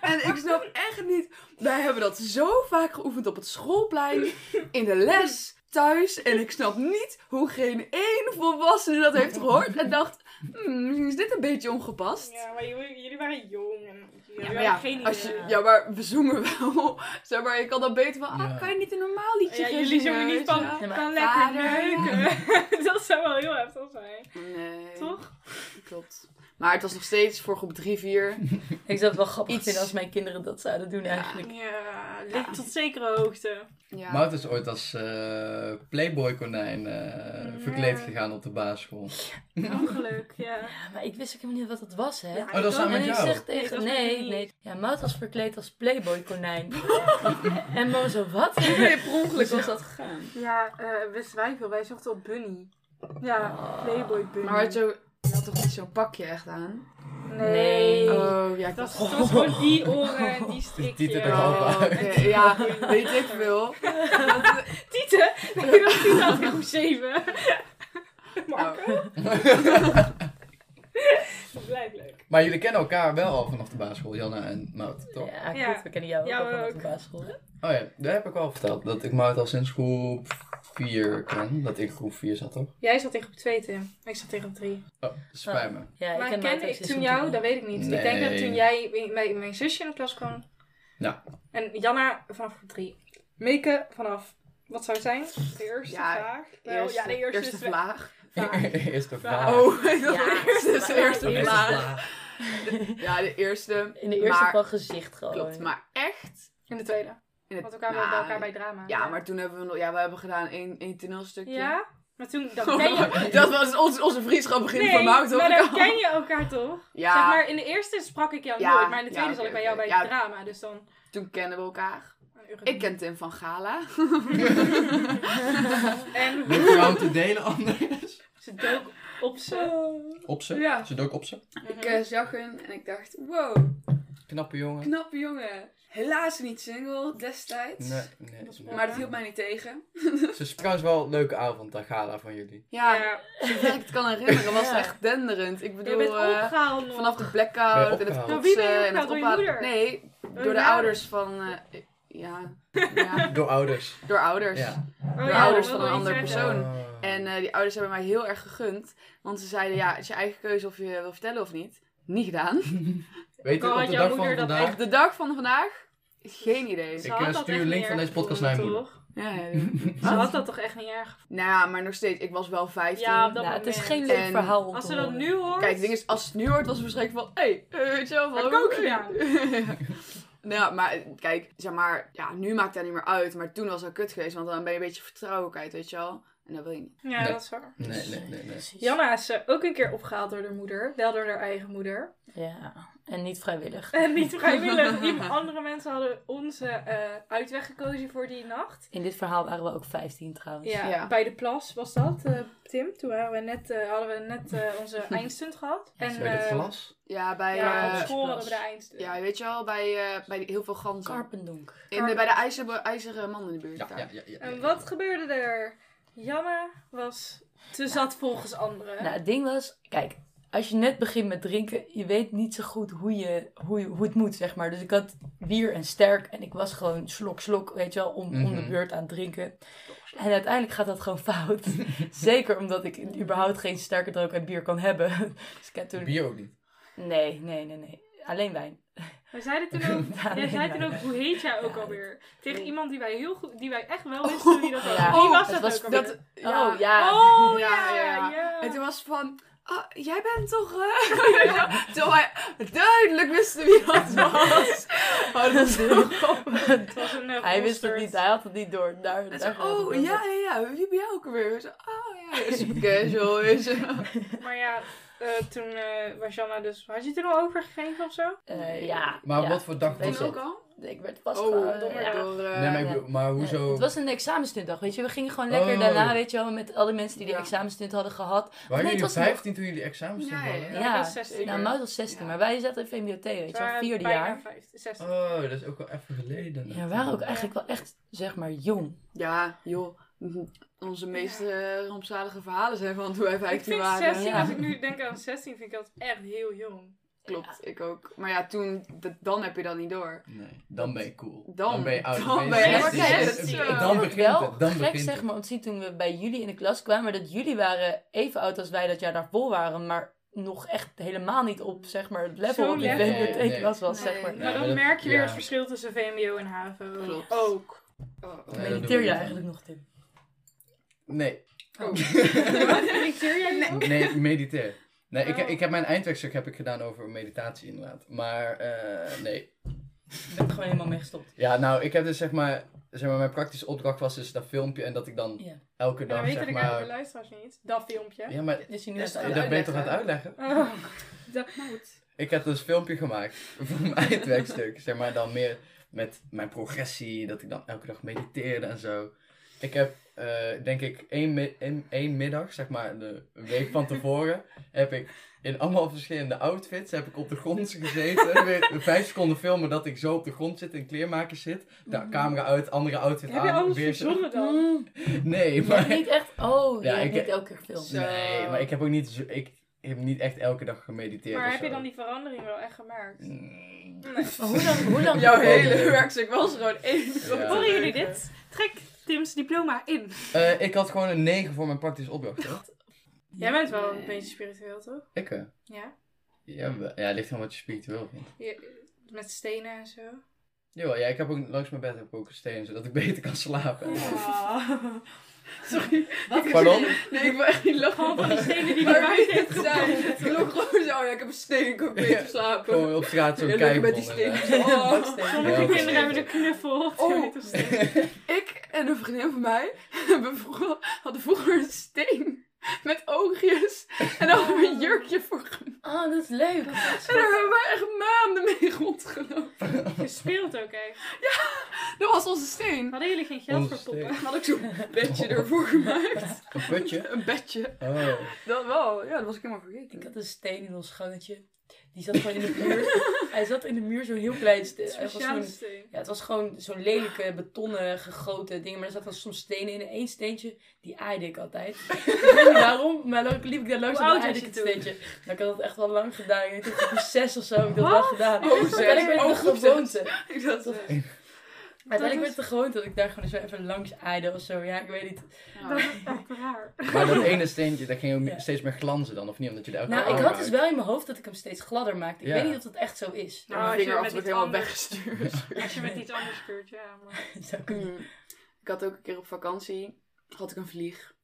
Speaker 2: en ik snap echt niet. Wij hebben dat zo vaak geoefend op het schoolplein, in de les, thuis. En ik snap niet hoe geen één volwassene dat heeft gehoord en dacht, "Hmm, misschien is dit een beetje ongepast.
Speaker 3: Ja, maar jullie, jullie waren jong en jullie
Speaker 2: Ja,
Speaker 3: hadden
Speaker 2: maar ja,
Speaker 3: geen idee.
Speaker 2: als je, ja, maar we zoomen wel. Zeg maar, je kan dan beter van, ah,
Speaker 1: Ja.
Speaker 2: kan je niet een normaal liedje
Speaker 3: Ja,
Speaker 2: gaan
Speaker 3: jullie
Speaker 2: zingen,
Speaker 3: zongen niet
Speaker 2: weet
Speaker 3: van,
Speaker 2: je wel?
Speaker 4: Ja, maar
Speaker 3: kan lekker
Speaker 2: vader.
Speaker 3: neuken. dat zou wel heel heftig zijn,
Speaker 2: Nee.
Speaker 3: toch?
Speaker 2: Klopt. Maar het was nog steeds voor groep 3, 4.
Speaker 4: Ik zou het wel grappig
Speaker 2: Iets-
Speaker 4: vinden als mijn kinderen dat zouden doen eigenlijk.
Speaker 3: Ja, ligt tot zekere hoogte.
Speaker 2: Ja.
Speaker 1: Mout is ooit als eh, Playboy-konijn eh,
Speaker 3: Ja.
Speaker 1: verkleed gegaan op de basisschool.
Speaker 3: Ongeluk, ja.
Speaker 4: Ja, maar ik wist ook helemaal niet wat dat was, hè.
Speaker 3: Ja,
Speaker 1: Oh, dat is
Speaker 3: ik ook.
Speaker 1: aan
Speaker 4: en
Speaker 1: met
Speaker 4: ik
Speaker 1: jou.
Speaker 4: zeg
Speaker 3: Nee, dat
Speaker 4: tegen,
Speaker 3: was
Speaker 4: nee,
Speaker 3: niet.
Speaker 4: nee. Ja, Maud was verkleed als Playboy-konijn. en Mo zo, wat?
Speaker 2: Nee, per ongeluk was dat gegaan.
Speaker 3: Ja, eh wist wij veel. Wij zochten op Bunny. Ja,
Speaker 4: Ah.
Speaker 3: Playboy Bunny.
Speaker 2: Maar had je, je had toch niet zo'n pakje echt aan?
Speaker 3: Nee.
Speaker 4: Nee.
Speaker 2: Oh, ja, ik
Speaker 3: Dat is
Speaker 2: dacht...
Speaker 3: dat is gewoon die oren en die strikje.
Speaker 1: Tieten er al.
Speaker 2: Oh, oké, ja, weet ik
Speaker 3: Nou,
Speaker 2: veel.
Speaker 3: Tieten? Nee, dat is Tieten uit groep 7.
Speaker 2: Nou,
Speaker 3: Marco? Blijf leuk.
Speaker 1: Maar jullie kennen elkaar wel al vanaf de basisschool, Janna en Mout, toch?
Speaker 4: Ja,
Speaker 3: Ja.
Speaker 4: klopt. We kennen jou ook
Speaker 3: Jou
Speaker 4: al vanaf de
Speaker 3: ook.
Speaker 4: basisschool. hè?
Speaker 1: Oh ja, daar heb ik al verteld. Dat ik Mout al sinds groep 4 ken. Dat ik groep 4 zat, toch?
Speaker 3: Jij zat in groep 2, Tim. Ik zat in groep 3.
Speaker 1: Oh, spijt me.
Speaker 4: Ja,
Speaker 3: maar
Speaker 4: ken Maarten
Speaker 3: ken
Speaker 4: ook
Speaker 3: ik
Speaker 4: sinds
Speaker 3: toen
Speaker 4: mijn
Speaker 3: jou?
Speaker 4: drie.
Speaker 3: Dat weet ik niet. Ik denk dat toen
Speaker 1: Nee.
Speaker 3: jij, mijn, mijn zusje in de klas kwam.
Speaker 1: Ja.
Speaker 3: En Janna vanaf groep 3. Meke vanaf, wat zou het zijn? De eerste
Speaker 2: Ja,
Speaker 3: vraag? Wel,
Speaker 2: Eerste,
Speaker 3: ja, de eerste, is wel-
Speaker 2: vlaag.
Speaker 3: vraag.
Speaker 1: Eerste
Speaker 3: Vraag.
Speaker 1: vraag.
Speaker 2: Oh, dat
Speaker 4: Ja,
Speaker 2: is de eerste,
Speaker 4: de
Speaker 2: eerste
Speaker 4: eerste
Speaker 2: vlaag. Ja, de eerste.
Speaker 4: In de eerste
Speaker 2: Maar-
Speaker 4: van gezicht gewoon.
Speaker 2: Klopt, maar echt.
Speaker 3: In de tweede.
Speaker 2: In het-
Speaker 3: Want we kwamen
Speaker 2: nou,
Speaker 3: bij elkaar bij drama.
Speaker 2: Ja, maar toen hebben we nog... Ja, we hebben gedaan één, één toneelstukje.
Speaker 3: Ja? Maar toen, dan ken je...
Speaker 2: dat was ons, onze vriendschap begin
Speaker 3: Nee,
Speaker 2: van Mout,
Speaker 3: maar dan
Speaker 2: toch?
Speaker 3: ken je elkaar toch?
Speaker 2: Ja,
Speaker 3: Zeg maar, in de eerste sprak ik jou
Speaker 2: Ja,
Speaker 3: nooit, maar in de
Speaker 2: ja,
Speaker 3: tweede
Speaker 2: oké,
Speaker 3: zat ik bij
Speaker 2: oké.
Speaker 3: jou bij
Speaker 2: Ja.
Speaker 3: het drama. Dus dan... Oh,
Speaker 2: toen kennen we elkaar.
Speaker 3: een uur
Speaker 2: Ik ken Tim van Gala.
Speaker 3: En
Speaker 1: Met jou te delen anders.
Speaker 3: ze dook op
Speaker 4: Nou,
Speaker 3: ze. Mhm.
Speaker 1: Op ze?
Speaker 2: Ja.
Speaker 1: Ze dook op ze?
Speaker 2: Oh. Ik eh, zag hem en ik dacht, wow,
Speaker 1: Knappe jongen.
Speaker 2: knappe jongen. Helaas niet single destijds.
Speaker 1: Nee, nee.
Speaker 3: Dat is
Speaker 1: nee.
Speaker 3: mooi.
Speaker 2: Maar dat hield mij niet tegen.
Speaker 1: Ze is trouwens wel een leuke avond, dat gala van jullie.
Speaker 2: Ja,
Speaker 3: Ja.
Speaker 2: zover ik het kan herinneren was
Speaker 4: Ja.
Speaker 2: het echt denderend. Ik
Speaker 3: Je
Speaker 2: bedoel,
Speaker 3: bent
Speaker 2: eh,
Speaker 3: opgehaald nog.
Speaker 2: vanaf de
Speaker 1: Ben je
Speaker 2: blackout en het
Speaker 1: opgehaald?
Speaker 3: Door wie ben je
Speaker 2: kotsen en het
Speaker 3: opgehaald? Door je
Speaker 2: ophalen.
Speaker 3: moeder?
Speaker 2: Nee, door de
Speaker 3: vader?
Speaker 2: ouders van... eh, ja, ja,
Speaker 1: Door ouders.
Speaker 2: door ouders.
Speaker 1: Ja.
Speaker 3: Oh
Speaker 2: de
Speaker 3: ja,
Speaker 2: ouders
Speaker 3: ik
Speaker 2: van
Speaker 3: wilde
Speaker 2: een
Speaker 3: iets
Speaker 2: andere
Speaker 3: zeggen.
Speaker 2: persoon.
Speaker 1: Ah.
Speaker 2: En eh, die ouders hebben mij heel erg gegund. Want ze zeiden, ja, het is je eigen keuze of je wil vertellen of niet. Niet gedaan.
Speaker 1: Weet je,
Speaker 3: Ook al
Speaker 1: op
Speaker 3: had
Speaker 1: de
Speaker 3: jouw
Speaker 1: dag van
Speaker 3: moeder dat
Speaker 1: vandaag...
Speaker 3: echt-
Speaker 2: De dag van vandaag? Geen idee.
Speaker 3: Ze
Speaker 1: Ik,
Speaker 3: had
Speaker 1: eh,
Speaker 3: dat
Speaker 1: stuur
Speaker 3: echt
Speaker 1: een link
Speaker 3: niet
Speaker 1: van
Speaker 3: erg
Speaker 1: deze podcast
Speaker 3: gevonden,
Speaker 1: naar je
Speaker 3: toch?
Speaker 2: Ja, ja, ja.
Speaker 3: Ze had dat toch echt niet erg.
Speaker 2: Nou ja, maar nog steeds. Ik was wel 15.
Speaker 3: Ja, op dat
Speaker 4: Nou, het is
Speaker 3: moment.
Speaker 4: geen leuk
Speaker 2: En
Speaker 4: verhaal. om
Speaker 3: Als
Speaker 4: te
Speaker 3: ze dat
Speaker 4: horen.
Speaker 3: nu hoort...
Speaker 2: Kijk, het ding is, als het nu wordt, was het waarschijnlijk van... Hé, hey, eh, weet je wel, van...
Speaker 3: Heb ik ook
Speaker 2: hey.
Speaker 3: gedaan.
Speaker 2: Ja. Nou, maar kijk, zeg maar... Ja, nu maakt dat niet meer uit. Maar toen was dat kut geweest. Want dan ben je een beetje vertrouwen kwijt, weet je wel. En dat wil je niet.
Speaker 3: Ja,
Speaker 1: Nee.
Speaker 3: dat is waar.
Speaker 1: Nee, nee, nee. nee.
Speaker 4: Precies.
Speaker 3: Janna is eh, ook een keer opgehaald door haar moeder. Wel door haar eigen moeder.
Speaker 4: Ja, en niet vrijwillig.
Speaker 3: En niet vrijwillig. Die andere mensen hadden onze eh, uitweg gekozen voor die nacht.
Speaker 4: In dit verhaal waren we ook 15 trouwens.
Speaker 3: Ja,
Speaker 2: Ja.
Speaker 3: bij de plas was dat, eh, Tim. Toen waren we net, eh, hadden we net eh, onze eindstunt gehad. En,
Speaker 1: Bij de
Speaker 3: eh,
Speaker 1: glas?
Speaker 2: Ja, bij...
Speaker 3: Ja,
Speaker 2: eh,
Speaker 3: op
Speaker 4: eh,
Speaker 3: school hadden we de
Speaker 4: plas.
Speaker 3: eindstunt.
Speaker 2: ja, weet je wel, bij, eh, bij die- heel veel ganzen.
Speaker 4: Karpendonk.
Speaker 2: In de, bij de ijzer, ijzeren man in de buurt.
Speaker 1: Ja,
Speaker 2: daar.
Speaker 1: ja, ja. ja,
Speaker 3: En
Speaker 1: ja.
Speaker 3: wat gebeurde er? Janna was te zat volgens anderen.
Speaker 4: Nou, het ding was, kijk, als je net begint met drinken, je weet niet zo goed hoe, je, hoe, je- hoe het moet, zeg maar. Dus ik had bier en sterk en ik was gewoon slok, slok, weet je wel, om, om de
Speaker 1: Mhm.
Speaker 4: beurt aan het drinken. En uiteindelijk gaat dat gewoon fout. Zeker omdat ik überhaupt geen sterke drank en bier kan hebben. Dus ik heb toen...
Speaker 1: Bier ook niet.
Speaker 4: Nee, nee, nee, nee. Alleen wijn.
Speaker 3: We zeiden toen ook,
Speaker 4: Ja,
Speaker 3: jij zei
Speaker 4: nee, nee.
Speaker 3: toen ook, hoe heet jij ook
Speaker 4: Ja,
Speaker 3: alweer?
Speaker 4: nee.
Speaker 3: Tegen iemand die wij heel goed, die wij echt wel wisten wie dat was.
Speaker 4: Ja. Oh,
Speaker 3: Wie was
Speaker 4: Het
Speaker 3: dat,
Speaker 4: was-
Speaker 3: ook alweer?
Speaker 2: Oh, Dat, ja.
Speaker 4: Oh, ja.
Speaker 3: Oh
Speaker 2: Ja,
Speaker 3: ja,
Speaker 2: ja,
Speaker 3: ja,
Speaker 2: ja.
Speaker 3: ja.
Speaker 2: En toen was het van, ah, jij bent toch... Uh... Terwijl wij duidelijk wisten wie dat was. Oh, dat was zo grappig.
Speaker 1: Oh!
Speaker 3: Het was een eh,
Speaker 4: Hij wist het
Speaker 3: monster.
Speaker 4: niet, hij had het niet door. Daar,
Speaker 2: En
Speaker 4: daar
Speaker 2: zo,
Speaker 4: gaat het
Speaker 2: oh,
Speaker 4: over.
Speaker 2: ja, ja, ja, wie ben jij ook alweer? Zo, oh, ja, super casual. weet je.
Speaker 3: Maar ja, eh, toen eh, was Janna dus... Had je toen al overgegeven of zo?
Speaker 4: Eh, ja.
Speaker 1: Maar
Speaker 4: ja.
Speaker 1: wat voor dag
Speaker 4: Weet
Speaker 1: was
Speaker 2: Toen
Speaker 4: je
Speaker 1: dat?
Speaker 2: ook al?
Speaker 4: Ik werd vast
Speaker 2: Oh, door...
Speaker 3: ja.
Speaker 2: eh,
Speaker 1: Nee, maar, ik
Speaker 4: ja.
Speaker 1: bedoel- maar
Speaker 4: Nee,
Speaker 1: hoezo?
Speaker 4: het was een examenstuntdag, weet je. We gingen gewoon lekker
Speaker 1: Oh.
Speaker 4: daarna, weet je wel, met al die mensen die de
Speaker 2: Ja.
Speaker 4: examenstunt hadden gehad.
Speaker 1: Waren
Speaker 4: nee,
Speaker 1: jullie
Speaker 4: het was nog-
Speaker 1: 15 toen jullie examens
Speaker 2: Ja,
Speaker 1: hadden?
Speaker 2: ja,
Speaker 4: Ja.
Speaker 3: ik was 16.
Speaker 4: Nou, Mout was 16,
Speaker 2: Ja.
Speaker 4: maar wij zaten in VMBOT, weet je wel, vierde jaar.
Speaker 3: Zestig.
Speaker 1: Oh, dat is ook wel even geleden.
Speaker 4: Ja, we waren ook eigenlijk wel echt, zeg maar, jong.
Speaker 2: Ja, joh. Onze meest eh, rampzalige verhalen zijn van toen wij
Speaker 3: Ik
Speaker 2: 15
Speaker 3: vind
Speaker 2: waren.
Speaker 3: 16,
Speaker 4: ja.
Speaker 3: als ik nu denk aan 16, vind ik dat echt heel jong.
Speaker 2: Klopt, ik ook. Maar ja, toen, d- dan heb je dat niet door.
Speaker 1: Nee, dan ben je cool.
Speaker 2: Dan-
Speaker 1: ben je oud.
Speaker 2: dan
Speaker 3: ben je
Speaker 1: 16.
Speaker 3: echt
Speaker 1: En-
Speaker 3: zo.
Speaker 1: en
Speaker 4: Ik
Speaker 1: Dan
Speaker 4: vond
Speaker 1: begint
Speaker 4: het wel
Speaker 1: het. Dan
Speaker 4: gek,
Speaker 1: begint
Speaker 4: zeg
Speaker 1: het.
Speaker 4: maar, om te zien toen we bij jullie in de klas kwamen, dat jullie waren even oud als wij dat jaar daarvoor waren, maar nog echt helemaal niet op, zeg maar, het level
Speaker 3: Zo'n
Speaker 4: op die
Speaker 3: level.
Speaker 4: VMBOT
Speaker 1: Nee, nee.
Speaker 4: klas was,
Speaker 2: Nee.
Speaker 4: zeg maar.
Speaker 1: Ja,
Speaker 3: maar
Speaker 1: maar
Speaker 3: dan
Speaker 1: dat-
Speaker 3: merk je weer
Speaker 1: ja.
Speaker 3: het verschil tussen VMBO en HAVO.
Speaker 2: Klopt.
Speaker 3: Ook.
Speaker 1: Oh, Nee, dat doen
Speaker 4: Mediteer
Speaker 1: we
Speaker 4: je
Speaker 1: niet.
Speaker 4: eigenlijk nog, Tim?
Speaker 1: Nee.
Speaker 4: Oh.
Speaker 3: Irriteer jij je?
Speaker 1: Nee, mediteer. Nee, ik,
Speaker 3: Oh.
Speaker 1: ik heb mijn eindwerkstuk heb ik gedaan over meditatie inderdaad. Maar eh, nee.
Speaker 4: Ik ben er gewoon helemaal mee gestopt.
Speaker 1: Ja, nou, ik heb dus zeg maar, zeg maar, mijn praktische opdracht was dus dat filmpje en dat ik dan
Speaker 4: Ja.
Speaker 1: elke
Speaker 3: Dan
Speaker 1: dag
Speaker 3: weten
Speaker 1: zeg
Speaker 3: de de
Speaker 1: maar...
Speaker 3: luisteraars niet. Dat filmpje.
Speaker 1: Ja, maar
Speaker 4: Dus je nu
Speaker 2: Dus
Speaker 4: aan
Speaker 1: dat
Speaker 4: het
Speaker 2: dan-
Speaker 1: ben je toch aan
Speaker 2: uitleggen.
Speaker 1: het uitleggen?
Speaker 3: Oh, dat-
Speaker 1: Ik heb dus een filmpje gemaakt voor mijn eindwerkstuk. Zeg maar dan meer met mijn progressie, dat ik dan elke dag mediteerde en zo. Ik heb, eh, denk ik, één, mi- één, één middag, zeg maar de week van tevoren, heb ik in allemaal verschillende outfits heb ik op de grond gezeten. Weer Vijf seconden filmen dat ik zo op de grond zit, in kleermakers zit. Nou, camera uit, andere outfit
Speaker 3: Mhm. Heb
Speaker 1: aan.
Speaker 3: je alles
Speaker 1: weer zo-
Speaker 3: verzonnen dan?
Speaker 4: Mm.
Speaker 1: Nee,
Speaker 4: Je hebt
Speaker 1: maar...
Speaker 4: niet echt. Oh,
Speaker 1: Ja,
Speaker 4: je hebt
Speaker 1: ik-
Speaker 4: niet elke keer gefilmd.
Speaker 2: Zo.
Speaker 1: Nee, maar ik heb ook niet... zo- Ik, heb niet echt elke dag gemediteerd.
Speaker 3: Oh. Maar
Speaker 1: of
Speaker 3: heb je
Speaker 1: zo.
Speaker 3: dan die verandering wel echt gemerkt?
Speaker 1: Mm,
Speaker 3: Nee.
Speaker 4: Maar hoe dan? Hoe dan
Speaker 2: Jouw
Speaker 4: Oh,
Speaker 2: hele
Speaker 4: nee.
Speaker 2: werkstuk was gewoon één grote
Speaker 3: Horen jullie
Speaker 2: leugen.
Speaker 3: dit? Trek Tim's diploma in.
Speaker 1: eh, ik had gewoon een 9 voor mijn praktische opdracht. hoor.
Speaker 3: Jij bent wel
Speaker 2: Nee.
Speaker 3: een beetje spiritueel, toch?
Speaker 1: Ik? eh,
Speaker 3: Ja.
Speaker 1: Ja, wel. ja, het ligt aan wat je spiritueel vindt.
Speaker 3: Je- met stenen en zo.
Speaker 1: Jawel, ja, ik heb ook langs mijn bed heb ik ook een steen, zodat ik beter kan slapen.
Speaker 2: Sorry.
Speaker 4: Wat?
Speaker 1: Pardon?
Speaker 2: Nee, ik wil echt niet
Speaker 3: Gewoon
Speaker 1: Oh,
Speaker 2: lachen.
Speaker 3: van die stenen die
Speaker 2: Maar
Speaker 3: erbij
Speaker 2: wie dit
Speaker 3: zitten.
Speaker 2: zijn. Ik loop gewoon zo. Oh ja, ik heb een steen. Ik kan beter slapen.
Speaker 1: Gewoon op straat zo'n
Speaker 2: Ja, lekker
Speaker 1: Oh, kijken.
Speaker 2: met die steen.
Speaker 1: eh,
Speaker 2: Oh.
Speaker 3: Sommige
Speaker 1: Ja,
Speaker 3: kinderen
Speaker 1: precies.
Speaker 3: hebben de knuffel of
Speaker 2: Oh.
Speaker 3: zoiets. of zo.
Speaker 2: Ik en een vriendin van mij hebben vroeger, hadden vroeger een steen met oogjes. En daar hadden we een jurkje voor gemaakt.
Speaker 4: Oh, dat is leuk.
Speaker 2: En daar hebben we echt maanden mee rondgelopen.
Speaker 3: Gespeeld ook echt.
Speaker 2: Dat was onze steen.
Speaker 3: Hadden jullie geen geld
Speaker 1: Onze
Speaker 3: voor poppen?
Speaker 2: Had ik zo'n bedje ervoor gemaakt.
Speaker 1: Een putje?
Speaker 2: Een bedje.
Speaker 1: Oh.
Speaker 2: Dat wel. Ja, dat was ik helemaal vergeten.
Speaker 4: Ik had een steen in ons gangetje. Die zat gewoon in de muur. Hij zat in de muur zo'n heel klein steen. Het was
Speaker 3: Speciale
Speaker 4: zo'n-
Speaker 3: steen.
Speaker 4: Ja, het was gewoon zo'n lelijke betonnen gegoten ding. Maar er zaten soms stenen in. En één steentje, die aaide ik altijd. ik weet niet waarom, maar lo- liep ik daar langs
Speaker 3: Hoe
Speaker 4: en dan
Speaker 3: oud
Speaker 4: aaide
Speaker 3: was
Speaker 4: ik het
Speaker 3: je toen?
Speaker 4: steentje. Nou, ik had dat echt wel lang gedaan. Ik denk dat ik op zes of zo heb ik dat wel gedaan.
Speaker 2: Oh,
Speaker 4: En
Speaker 2: zes.
Speaker 4: uiteindelijk werd
Speaker 2: Oh,
Speaker 4: het
Speaker 2: groep
Speaker 4: een
Speaker 2: zes.
Speaker 4: gewoonte.
Speaker 2: Ik dacht, eh,
Speaker 4: Uiteindelijk
Speaker 3: is-
Speaker 4: werd het gewoon dat ik daar gewoon zo even langs aaide of zo. Ja, ik weet niet.
Speaker 3: Dat is echt raar.
Speaker 1: Maar dat ene steentje, dat ging ook
Speaker 4: Ja.
Speaker 1: steeds meer glanzen dan, of niet? Omdat je er elke
Speaker 4: Nou,
Speaker 1: keer
Speaker 4: ik
Speaker 1: aan
Speaker 4: had dus
Speaker 1: raakt.
Speaker 4: wel in mijn hoofd dat ik hem steeds gladder maakte. Ik
Speaker 1: Ja.
Speaker 4: weet niet of dat echt zo is.
Speaker 2: nou, mijn
Speaker 3: als je met
Speaker 2: vingerafdruk
Speaker 3: iets
Speaker 2: helemaal
Speaker 3: anders-
Speaker 2: weggestuurd.
Speaker 3: Als je met iets anders speurt, ja. Maar...
Speaker 4: Zou ik-
Speaker 2: Mm. Ik had ook een keer op vakantie, had ik een vlieg.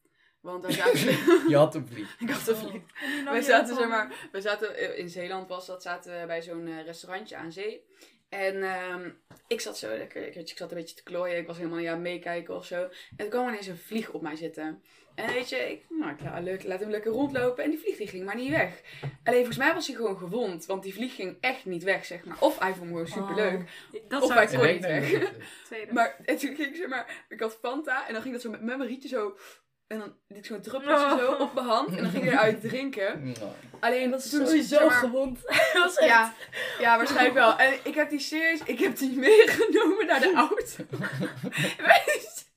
Speaker 2: Want daar zaten
Speaker 1: Je had een vlieg.
Speaker 2: ik had een vlieg. Wij zaten, zeg maar, wij zaten, eh, in Zeeland was dat, zaten we bij zo'n eh, restaurantje aan zee. En ehm, ik zat zo lekker, ik, ik zat een beetje te klooien, ik was helemaal niet aan het meekijken of zo. En toen kwam ineens een vlieg op mij zitten. En weet je, ik, nou, ik la- leuk, laat hem lekker rondlopen en die vlieg die ging maar niet weg. Alleen volgens mij was hij gewoon gewond, want die vlieg ging echt niet weg, zeg maar. Of hij vond me gewoon superleuk.
Speaker 4: Oh.
Speaker 3: Dat
Speaker 2: Of
Speaker 3: zou
Speaker 2: wij
Speaker 3: ik
Speaker 2: kon
Speaker 1: Ik
Speaker 3: zeggen.
Speaker 1: weet nou
Speaker 2: niet weg.
Speaker 1: niet of het is.
Speaker 3: Tweede.
Speaker 2: Maar en toen ging ik zeg maar, ik had Fanta en dan ging dat zo met, met mijn rietje zo. En dan liet ik zo'n druppeltje
Speaker 3: Oh.
Speaker 2: zo op mijn hand en dan ging ik eruit drinken.
Speaker 1: Nou,
Speaker 2: Alleen
Speaker 4: Dat is
Speaker 2: toen-
Speaker 4: sowieso
Speaker 2: zeg maar-
Speaker 4: gewond. dat was echt...
Speaker 2: Ja, ja, waarschijnlijk wel. En ik heb die serieus, ik heb die meegenomen naar de auto. Wees,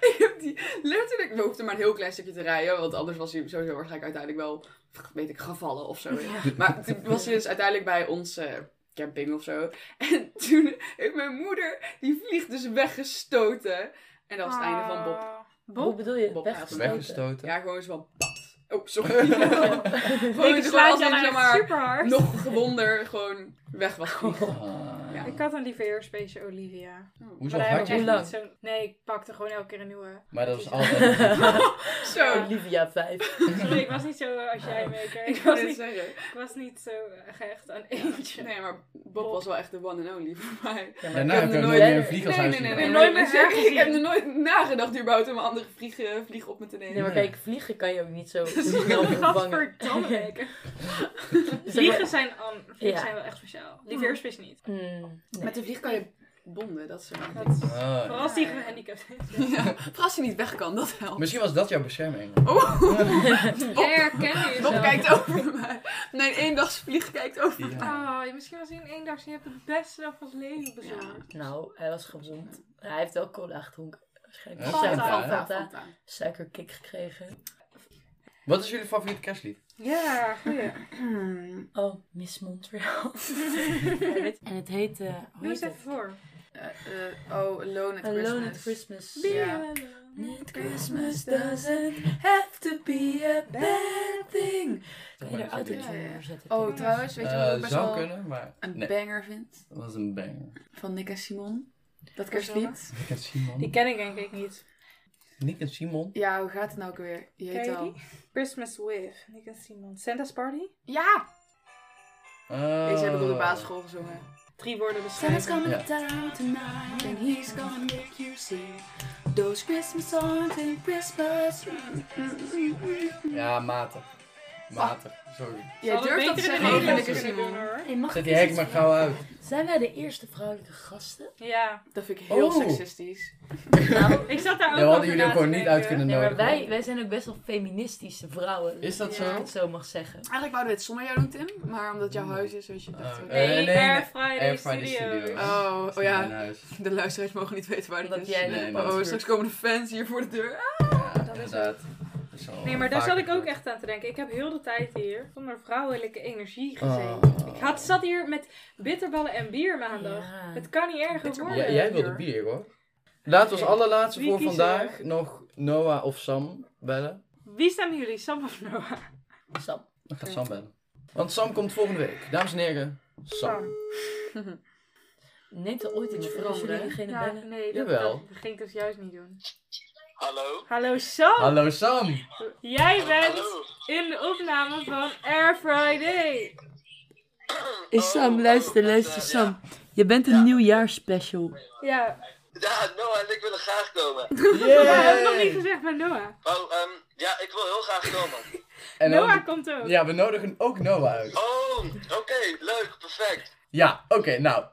Speaker 2: ik heb die letterlijk, we hoefden maar een heel klein stukje te rijden, want anders was hij sowieso waarschijnlijk uiteindelijk wel, weet ik, gevallen of zo. Maar toen was hij dus uiteindelijk bij ons eh, camping of zo. En toen heeft mijn moeder die vlieg dus weggestoten. En dat was het einde van Bob.
Speaker 3: Ah.
Speaker 4: Hoe
Speaker 3: Bob?
Speaker 4: bedoel je?
Speaker 2: Bob
Speaker 4: Weggestoten.
Speaker 1: Weggestoten.
Speaker 2: Ja, gewoon zo van, pat. Oh, sorry. gewoon
Speaker 3: ik
Speaker 2: zo van,
Speaker 3: slaat
Speaker 2: als
Speaker 3: je
Speaker 2: hij
Speaker 3: dan
Speaker 2: zeg
Speaker 3: echt
Speaker 2: maar
Speaker 3: super hard.
Speaker 2: nog gewonder gewoon weg was. gegaan.
Speaker 1: Ah.
Speaker 2: Ja.
Speaker 3: Ik had een lieveheersbeestje Olivia.
Speaker 1: Hoezo
Speaker 3: Maar daar heb
Speaker 1: had je
Speaker 3: ik echt
Speaker 4: Hoe lang?
Speaker 3: niet zo'n- Nee, ik pakte gewoon elke keer een nieuwe.
Speaker 1: Maar dat was
Speaker 3: Ja.
Speaker 1: altijd...
Speaker 2: Zo.
Speaker 4: Olivia 5.
Speaker 3: Sorry, ik was niet zo eh, als jij maker. Ik
Speaker 2: Ik wil
Speaker 3: was
Speaker 2: dit
Speaker 3: niet,
Speaker 2: zeggen.
Speaker 3: ik was niet zo eh, gehecht aan eentje.
Speaker 2: Nee, maar Bob was wel echt de one and only voor mij.
Speaker 1: Daarna
Speaker 4: ik
Speaker 1: heb
Speaker 4: heb
Speaker 1: ik ook
Speaker 4: nog
Speaker 1: nooit meer
Speaker 4: nooit-
Speaker 1: een vlieg als
Speaker 2: nee,
Speaker 1: huisdier
Speaker 2: nee,
Speaker 1: gehad.
Speaker 3: Ik heb nooit
Speaker 2: nee, nee, nee,
Speaker 3: meer
Speaker 2: zeker.
Speaker 3: gezien.
Speaker 2: Ik heb er nooit nagedacht überhaupt om een andere vlieg, eh, vlieg op me te nemen.
Speaker 4: Nee, maar kijk, vliegen kan je ook niet zo snel vervangen.
Speaker 3: Gadverdamme, Maker.
Speaker 4: Zeg maar-
Speaker 3: Vliegen zijn, an- vliegen
Speaker 4: Ja.
Speaker 3: zijn wel echt speciaal. Lieveheersbeest niet.
Speaker 4: Mm, nee.
Speaker 2: Met een vlieg kan je bonden, dat is
Speaker 3: Dat
Speaker 2: zo.
Speaker 3: is-
Speaker 1: Ah.
Speaker 3: Vooral als die gehandicapt is.
Speaker 2: Ja, als je niet weg kan, dat helpt.
Speaker 1: Misschien was dat jouw bescherming.
Speaker 2: Oh,
Speaker 3: Jij herkende
Speaker 2: Bob
Speaker 3: jezelf.
Speaker 2: kijkt over mij. Mijn eendagsvlieg kijkt over mij.
Speaker 1: Ja.
Speaker 3: Oh, je- misschien was hij in één dag, je hebt het beste dag van het leven bezorgd.
Speaker 4: Nou, hij was gezond. Hij heeft wel cola gedronken. Waarschijnlijk.
Speaker 1: Hè?
Speaker 4: Fanta.
Speaker 1: Fanta,
Speaker 4: Fanta.
Speaker 1: hè?
Speaker 4: Suikerkick gekregen.
Speaker 1: Wat is jullie favoriete kerstlied?
Speaker 3: Ja, goeie.
Speaker 4: Oh, Miss Montreal. en het heet... eh hoe
Speaker 3: Doe
Speaker 4: heet
Speaker 3: eens even
Speaker 4: het?
Speaker 3: voor.
Speaker 2: Eh, eh, oh, Alone at
Speaker 4: Alone at
Speaker 2: Christmas.
Speaker 4: Christmas.
Speaker 2: Be Ja.
Speaker 4: Alone at Christmas doesn't have to be a bad thing. Kan je
Speaker 1: maar dat
Speaker 4: er
Speaker 1: is
Speaker 4: autotune
Speaker 2: een ding.
Speaker 4: onder zetten?
Speaker 2: Oh, trouwens, weet je wat ik
Speaker 1: Eh,
Speaker 2: best
Speaker 1: zou
Speaker 2: wel
Speaker 1: kunnen, maar...
Speaker 2: een
Speaker 1: Nee,
Speaker 2: banger vind?
Speaker 1: dat was een banger.
Speaker 2: Van Nick en Simon. Dat
Speaker 3: Wat is dat?
Speaker 2: kerstlied.
Speaker 1: Ik heb Simon.
Speaker 3: Die ken ik denk ik niet.
Speaker 1: Nick en Simon.
Speaker 2: Ja, hoe gaat het nou ook weer? Je
Speaker 3: Ken
Speaker 2: weet
Speaker 3: je
Speaker 2: al.
Speaker 3: die? Christmas with Nick en Simon. Santa's Party?
Speaker 2: Ja!
Speaker 1: Oh.
Speaker 2: Deze heb ik op de basisschool gezongen.
Speaker 3: Drie woorden beschrijven.
Speaker 1: Ja.
Speaker 2: down tonight and he's gonna make you see those Christmas songs and Christmas.
Speaker 1: Ja, matig. Matig,
Speaker 2: Ah.
Speaker 1: sorry.
Speaker 2: Jij durft dat te zeggen,
Speaker 1: dan
Speaker 2: ook vind ik
Speaker 1: ik
Speaker 2: een
Speaker 1: het
Speaker 2: Simon.
Speaker 4: Hey, mag
Speaker 1: Zet
Speaker 4: ik
Speaker 1: die
Speaker 4: eens
Speaker 1: hek
Speaker 4: iets
Speaker 1: maar
Speaker 4: vragen?
Speaker 1: gauw uit.
Speaker 4: Zijn wij de eerste vrouwelijke gasten?
Speaker 3: Ja,
Speaker 2: Dat vind ik heel
Speaker 1: Oh.
Speaker 2: seksistisch.
Speaker 4: Nou,
Speaker 3: ik zat daar
Speaker 1: Ja, we
Speaker 3: ook over
Speaker 1: hadden jullie
Speaker 3: na
Speaker 1: ook
Speaker 3: te
Speaker 1: gewoon niet
Speaker 3: denken.
Speaker 1: uit kunnen
Speaker 4: nee, maar
Speaker 1: nodigen.
Speaker 4: wij, wij zijn ook best wel feministische vrouwen.
Speaker 1: Is dat
Speaker 3: Ja.
Speaker 1: zo?
Speaker 2: Oh,
Speaker 4: Als ik het zo mag zeggen.
Speaker 2: Eigenlijk wouden we het zonder jou doen, Tim, maar omdat jouw huis is, weet je. dachten we-
Speaker 1: Eh,
Speaker 3: Nee,
Speaker 1: nee,
Speaker 3: Air
Speaker 1: nee.
Speaker 3: Friday,
Speaker 1: Air Friday
Speaker 3: Studios.
Speaker 1: Studios.
Speaker 2: Oh,
Speaker 1: Dat is niet
Speaker 2: oh
Speaker 1: mijn
Speaker 2: ja,
Speaker 1: huis.
Speaker 2: de luisteraars mogen niet weten waar
Speaker 4: Omdat
Speaker 2: dat is.
Speaker 4: jij
Speaker 1: Nee,
Speaker 4: de
Speaker 1: dat
Speaker 2: Oh,
Speaker 4: podcast
Speaker 2: straks komen de fans hier voor de deur.
Speaker 1: Ja,
Speaker 3: is
Speaker 1: inderdaad. is al
Speaker 3: Nee, maar daar
Speaker 1: vaker
Speaker 3: zat ik ook
Speaker 1: gebeurd.
Speaker 3: echt aan te denken. Ik heb heel de tijd hier zonder vrouwelijke energie gezeten.
Speaker 1: Oh.
Speaker 3: Ik had, zat hier met bitterballen en bier maandag.
Speaker 4: Ja.
Speaker 3: Het kan niet erger
Speaker 2: Bitterballen.
Speaker 3: worden.
Speaker 1: Ja, jij wilde bier hoor. Laten we als allerlaatste
Speaker 3: Wie
Speaker 1: voor
Speaker 3: kiezen
Speaker 1: vandaag nog Noah of Sam bellen.
Speaker 3: Wie staan jullie, Sam of Noah?
Speaker 4: Sam.
Speaker 1: Dan gaat
Speaker 3: Oké.
Speaker 1: Sam bellen. Want Sam komt volgende week. Dames en heren, Sam.
Speaker 4: Neemt er ooit iets
Speaker 2: Moet je
Speaker 4: voor als jullie
Speaker 2: veranderen,
Speaker 4: diegene
Speaker 3: Nou,
Speaker 4: bellen?
Speaker 3: nee, dat,
Speaker 1: Jawel.
Speaker 3: dat, dat ging ik dus juist niet doen.
Speaker 5: Hallo?
Speaker 3: Hallo Sam,
Speaker 1: Hallo Sam!
Speaker 3: jij bent
Speaker 5: Hallo?
Speaker 3: in de opname van Air Friday.
Speaker 5: Oh, Is Sam, luister, luister, Sam.
Speaker 4: Je bent
Speaker 5: Ja.
Speaker 4: nieuwjaarspecial.
Speaker 3: Ja,
Speaker 5: Ja, Noah en ik willen graag komen.
Speaker 3: maar dat heb ik nog niet
Speaker 1: Yeah!
Speaker 3: gezegd, maar Noah.
Speaker 5: Oh, ehm, ja, ik wil heel graag komen.
Speaker 1: En dan-
Speaker 3: Noah komt ook.
Speaker 1: ja, we nodigen ook Noah uit.
Speaker 5: Oh, oké, leuk, perfect.
Speaker 1: Ja, oké, nou.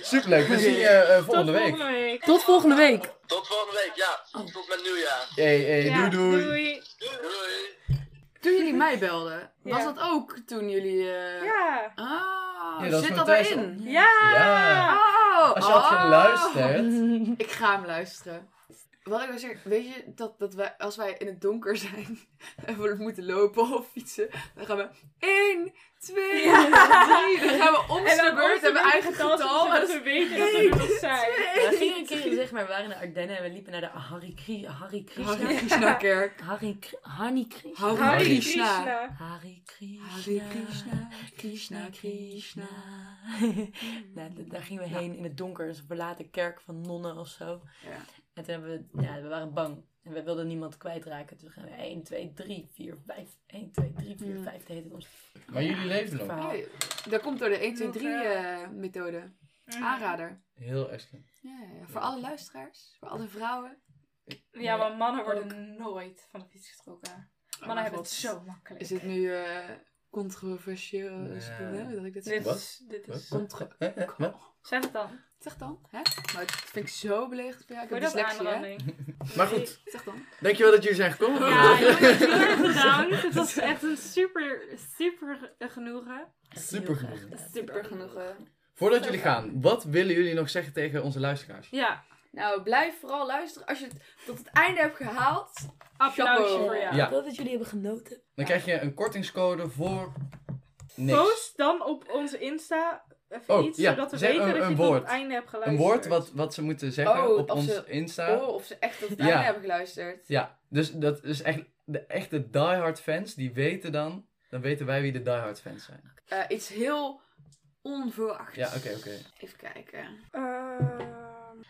Speaker 1: Superleuk, we zien je eh,
Speaker 3: Tot
Speaker 1: volgende week.
Speaker 3: volgende week.
Speaker 4: Tot volgende week.
Speaker 5: Tot volgende week, ja. Tot met nieuwjaar.
Speaker 1: Hey, hey,
Speaker 3: Ja,
Speaker 1: doei doei.
Speaker 3: doei.
Speaker 5: Doei. Doei.
Speaker 2: Toen jullie mij belden, was
Speaker 3: Ja.
Speaker 2: dat ook toen jullie... eh,
Speaker 3: Ja.
Speaker 2: Ah,
Speaker 1: Ja, dat is
Speaker 2: zit dat
Speaker 1: Matthijs.
Speaker 2: erin?
Speaker 3: Ja.
Speaker 1: Ja.
Speaker 2: Oh,
Speaker 1: Als je had
Speaker 3: Ah.
Speaker 2: oh.
Speaker 1: geluisterd.
Speaker 2: Ik ga hem luisteren. Wat ik wil zeggen, weet je, dat, dat wij, als wij in het donker zijn en we moeten lopen of fietsen, dan gaan we 1, 2, 3, dan gaan we om de beurt en we eigen getal. en
Speaker 3: zodat
Speaker 2: dat is
Speaker 3: we weten dat we nu nog zijn.
Speaker 4: We gingen een keer, zeg maar, we waren naar Ardennen en we liepen naar de Hari Krishna. Hari
Speaker 2: Hare
Speaker 4: Krishna.
Speaker 2: Krishna Kerk.
Speaker 4: Hari Kri- Hani Krishna.
Speaker 2: Hare
Speaker 3: Hare
Speaker 2: Krishna.
Speaker 3: Krishna.
Speaker 4: Hari Krishna.
Speaker 2: Hare Krishna, Krishna Krishna.
Speaker 4: nou, d- daar gingen we heen in het donker, een verlaten kerk van nonnen of zo.
Speaker 2: Ja.
Speaker 4: En toen hebben we, ja, we waren bang. En we wilden niemand kwijtraken. Toen gaan we 1, 2, 3, 4, 5. 1, 2, 3, 4,
Speaker 2: Mm.
Speaker 4: 5. De hele tijd ons
Speaker 1: Maar jullie leven nog.
Speaker 4: verhaal.
Speaker 2: Hey, dat komt door de 1, 2, 3
Speaker 3: Nog, eh,
Speaker 2: eh, methode.
Speaker 3: Mm.
Speaker 2: Aanrader.
Speaker 1: Heel extra.
Speaker 2: Ja, ja, ja. Voor alle luisteraars, voor alle vrouwen.
Speaker 3: Ja, maar mannen worden nooit van de fiets getrokken. Mannen
Speaker 2: Oh,
Speaker 3: hebben het
Speaker 2: God.
Speaker 3: zo makkelijk.
Speaker 2: Is dit nu eh controversieel?
Speaker 1: Nee.
Speaker 2: Is het goed, hè, dat ik dit zeg?
Speaker 3: Dit
Speaker 1: Wat?
Speaker 3: is... Dit
Speaker 1: Wat?
Speaker 3: is...
Speaker 2: Contro-
Speaker 1: Wat?
Speaker 3: Zeg het dan.
Speaker 2: Zeg dan, hè? Maar dat vind ik zo beledigd voor jou. Ik
Speaker 3: Voor
Speaker 2: heb
Speaker 3: dat
Speaker 2: dyslexie, hè?
Speaker 3: aanranding.
Speaker 1: Maar goed,
Speaker 2: Zeg dan.
Speaker 1: dankjewel dat jullie zijn gekomen.
Speaker 3: Ja, jongens, heel erg bedankt. Het was echt een super, super genoegen.
Speaker 1: Super genoeg.
Speaker 3: Super
Speaker 2: genoegen.
Speaker 1: Voordat jullie gaan, wat willen jullie nog zeggen tegen onze luisteraars?
Speaker 3: Ja,
Speaker 2: Nou, blijf vooral luisteren. Als je het tot het einde hebt gehaald.
Speaker 3: applausje
Speaker 2: Chapeau.
Speaker 3: voor jou.
Speaker 1: Ja.
Speaker 4: Ik hoop dat jullie hebben genoten.
Speaker 1: Dan krijg je een kortingscode voor niks.
Speaker 3: Post dan op onze Insta even
Speaker 1: Oh,
Speaker 3: iets,
Speaker 1: ja.
Speaker 3: zodat we
Speaker 1: Zeg
Speaker 3: weten
Speaker 1: een-
Speaker 3: dat
Speaker 1: een
Speaker 3: je tot
Speaker 1: woord.
Speaker 3: het einde hebt
Speaker 1: Een
Speaker 3: geluisterd.
Speaker 1: woord wat, wat ze moeten zeggen
Speaker 2: Oh,
Speaker 1: op
Speaker 2: of
Speaker 1: ons
Speaker 2: ze-
Speaker 1: Insta.
Speaker 2: of ze echt tot het
Speaker 1: Ja.
Speaker 2: einde hebben geluisterd.
Speaker 1: Ja, dus dat is echt de echte diehard fans, die weten dan, dan weten wij wie de diehard fans zijn.
Speaker 2: Eh, iets heel onverwachts.
Speaker 1: Ja, oké, oké.
Speaker 2: Even kijken.
Speaker 3: Ehm,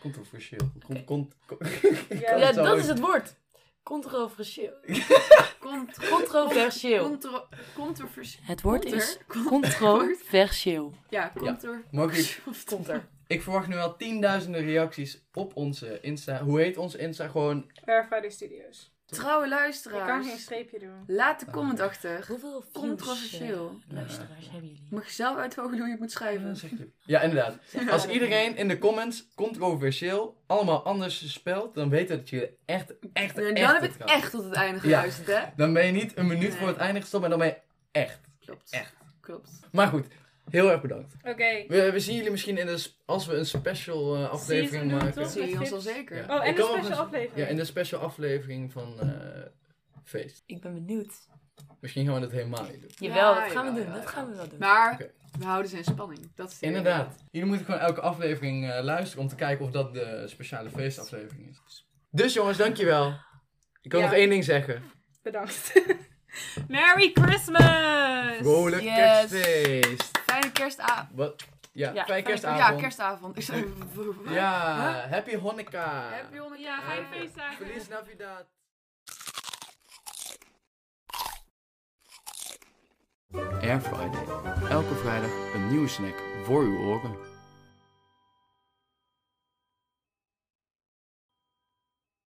Speaker 1: Controversieel. Con- con- con-
Speaker 3: ja,
Speaker 4: Ja,
Speaker 1: Zo
Speaker 4: dat
Speaker 1: is-
Speaker 4: is het woord. Controversieel.
Speaker 2: Contro...
Speaker 4: Controversieel.
Speaker 2: Contro... Controversieel.
Speaker 4: Het woord
Speaker 2: Conter?
Speaker 4: is controversieel.
Speaker 2: Ja, contro...
Speaker 1: Mogen jullie-
Speaker 4: Komt er.
Speaker 1: ik verwacht nu al tienduizenden reacties op onze Insta. Hoe heet onze Insta? Gewoon
Speaker 3: Fair Friday Studios.
Speaker 2: Trouwe
Speaker 3: Ik kan geen
Speaker 2: luisteraars.
Speaker 3: streepje doen.
Speaker 2: Laat
Speaker 1: Oh,
Speaker 2: de comment achter.
Speaker 4: Hoeveel views,
Speaker 2: Controversieel.
Speaker 4: eh, luisteraars hebben jullie?
Speaker 2: Mag je zelf uitvogelen hoe je het moet
Speaker 1: Mm,
Speaker 2: schrijven.
Speaker 1: Ja, inderdaad. Als iedereen in de comments controversieel allemaal anders spelt, dan weten we dat je echt, echt,
Speaker 2: En
Speaker 1: echt
Speaker 2: dan heb je
Speaker 1: het
Speaker 2: het
Speaker 1: kan.
Speaker 2: echt tot het einde
Speaker 1: Ja.
Speaker 2: geluisterd, hè?
Speaker 1: Dan ben je niet een minuut
Speaker 2: Nee.
Speaker 1: voor het einde gestopt, maar dan ben je echt.
Speaker 2: Klopt.
Speaker 1: Echt.
Speaker 2: Klopt.
Speaker 1: Maar goed, heel erg bedankt.
Speaker 3: Oké.
Speaker 1: We, we zien jullie misschien in de, sp- als we een special eh, aflevering
Speaker 3: Season,
Speaker 1: maken.
Speaker 2: Dat
Speaker 3: toch?
Speaker 2: zie je ons
Speaker 3: tips.
Speaker 2: al zeker.
Speaker 1: Ja.
Speaker 3: Oh, en
Speaker 1: Ik
Speaker 3: de
Speaker 1: kan wel
Speaker 3: special
Speaker 1: eens-
Speaker 3: aflevering.
Speaker 1: Ja, in de special aflevering van eh, Feest.
Speaker 4: Ik ben benieuwd.
Speaker 1: Misschien gaan we dat helemaal niet doen.
Speaker 4: Jawel,
Speaker 2: Ja,
Speaker 4: dat gaan we
Speaker 2: jawel,
Speaker 4: doen.
Speaker 2: jawel,
Speaker 4: Dat gaan we wel doen.
Speaker 2: Maar
Speaker 1: Oké.
Speaker 2: we houden ze in spanning. Dat is de reden.
Speaker 1: Inderdaad. Jullie moeten gewoon elke aflevering eh, luisteren om te kijken of dat de speciale feestaflevering is. Dus jongens, dankjewel. Ik kan
Speaker 3: Ja.
Speaker 1: nog één ding zeggen.
Speaker 3: Bedankt. Merry Christmas!
Speaker 1: Vrolijk
Speaker 2: Yes.
Speaker 1: kerstfeest.
Speaker 2: Fijne kerstavond.
Speaker 1: Wat? Ja,
Speaker 4: Ja,
Speaker 1: fijne
Speaker 4: fijn-
Speaker 1: kerstavond.
Speaker 2: Ja, kerstavond. Ik zei...
Speaker 1: Ja, happy Hanukkah.
Speaker 2: Happy Hanukkah.
Speaker 3: Oh Ja, ga je feestdagen.
Speaker 1: Feliz Navidad. Air Friday. Elke vrijdag een nieuwe snack voor uw oren.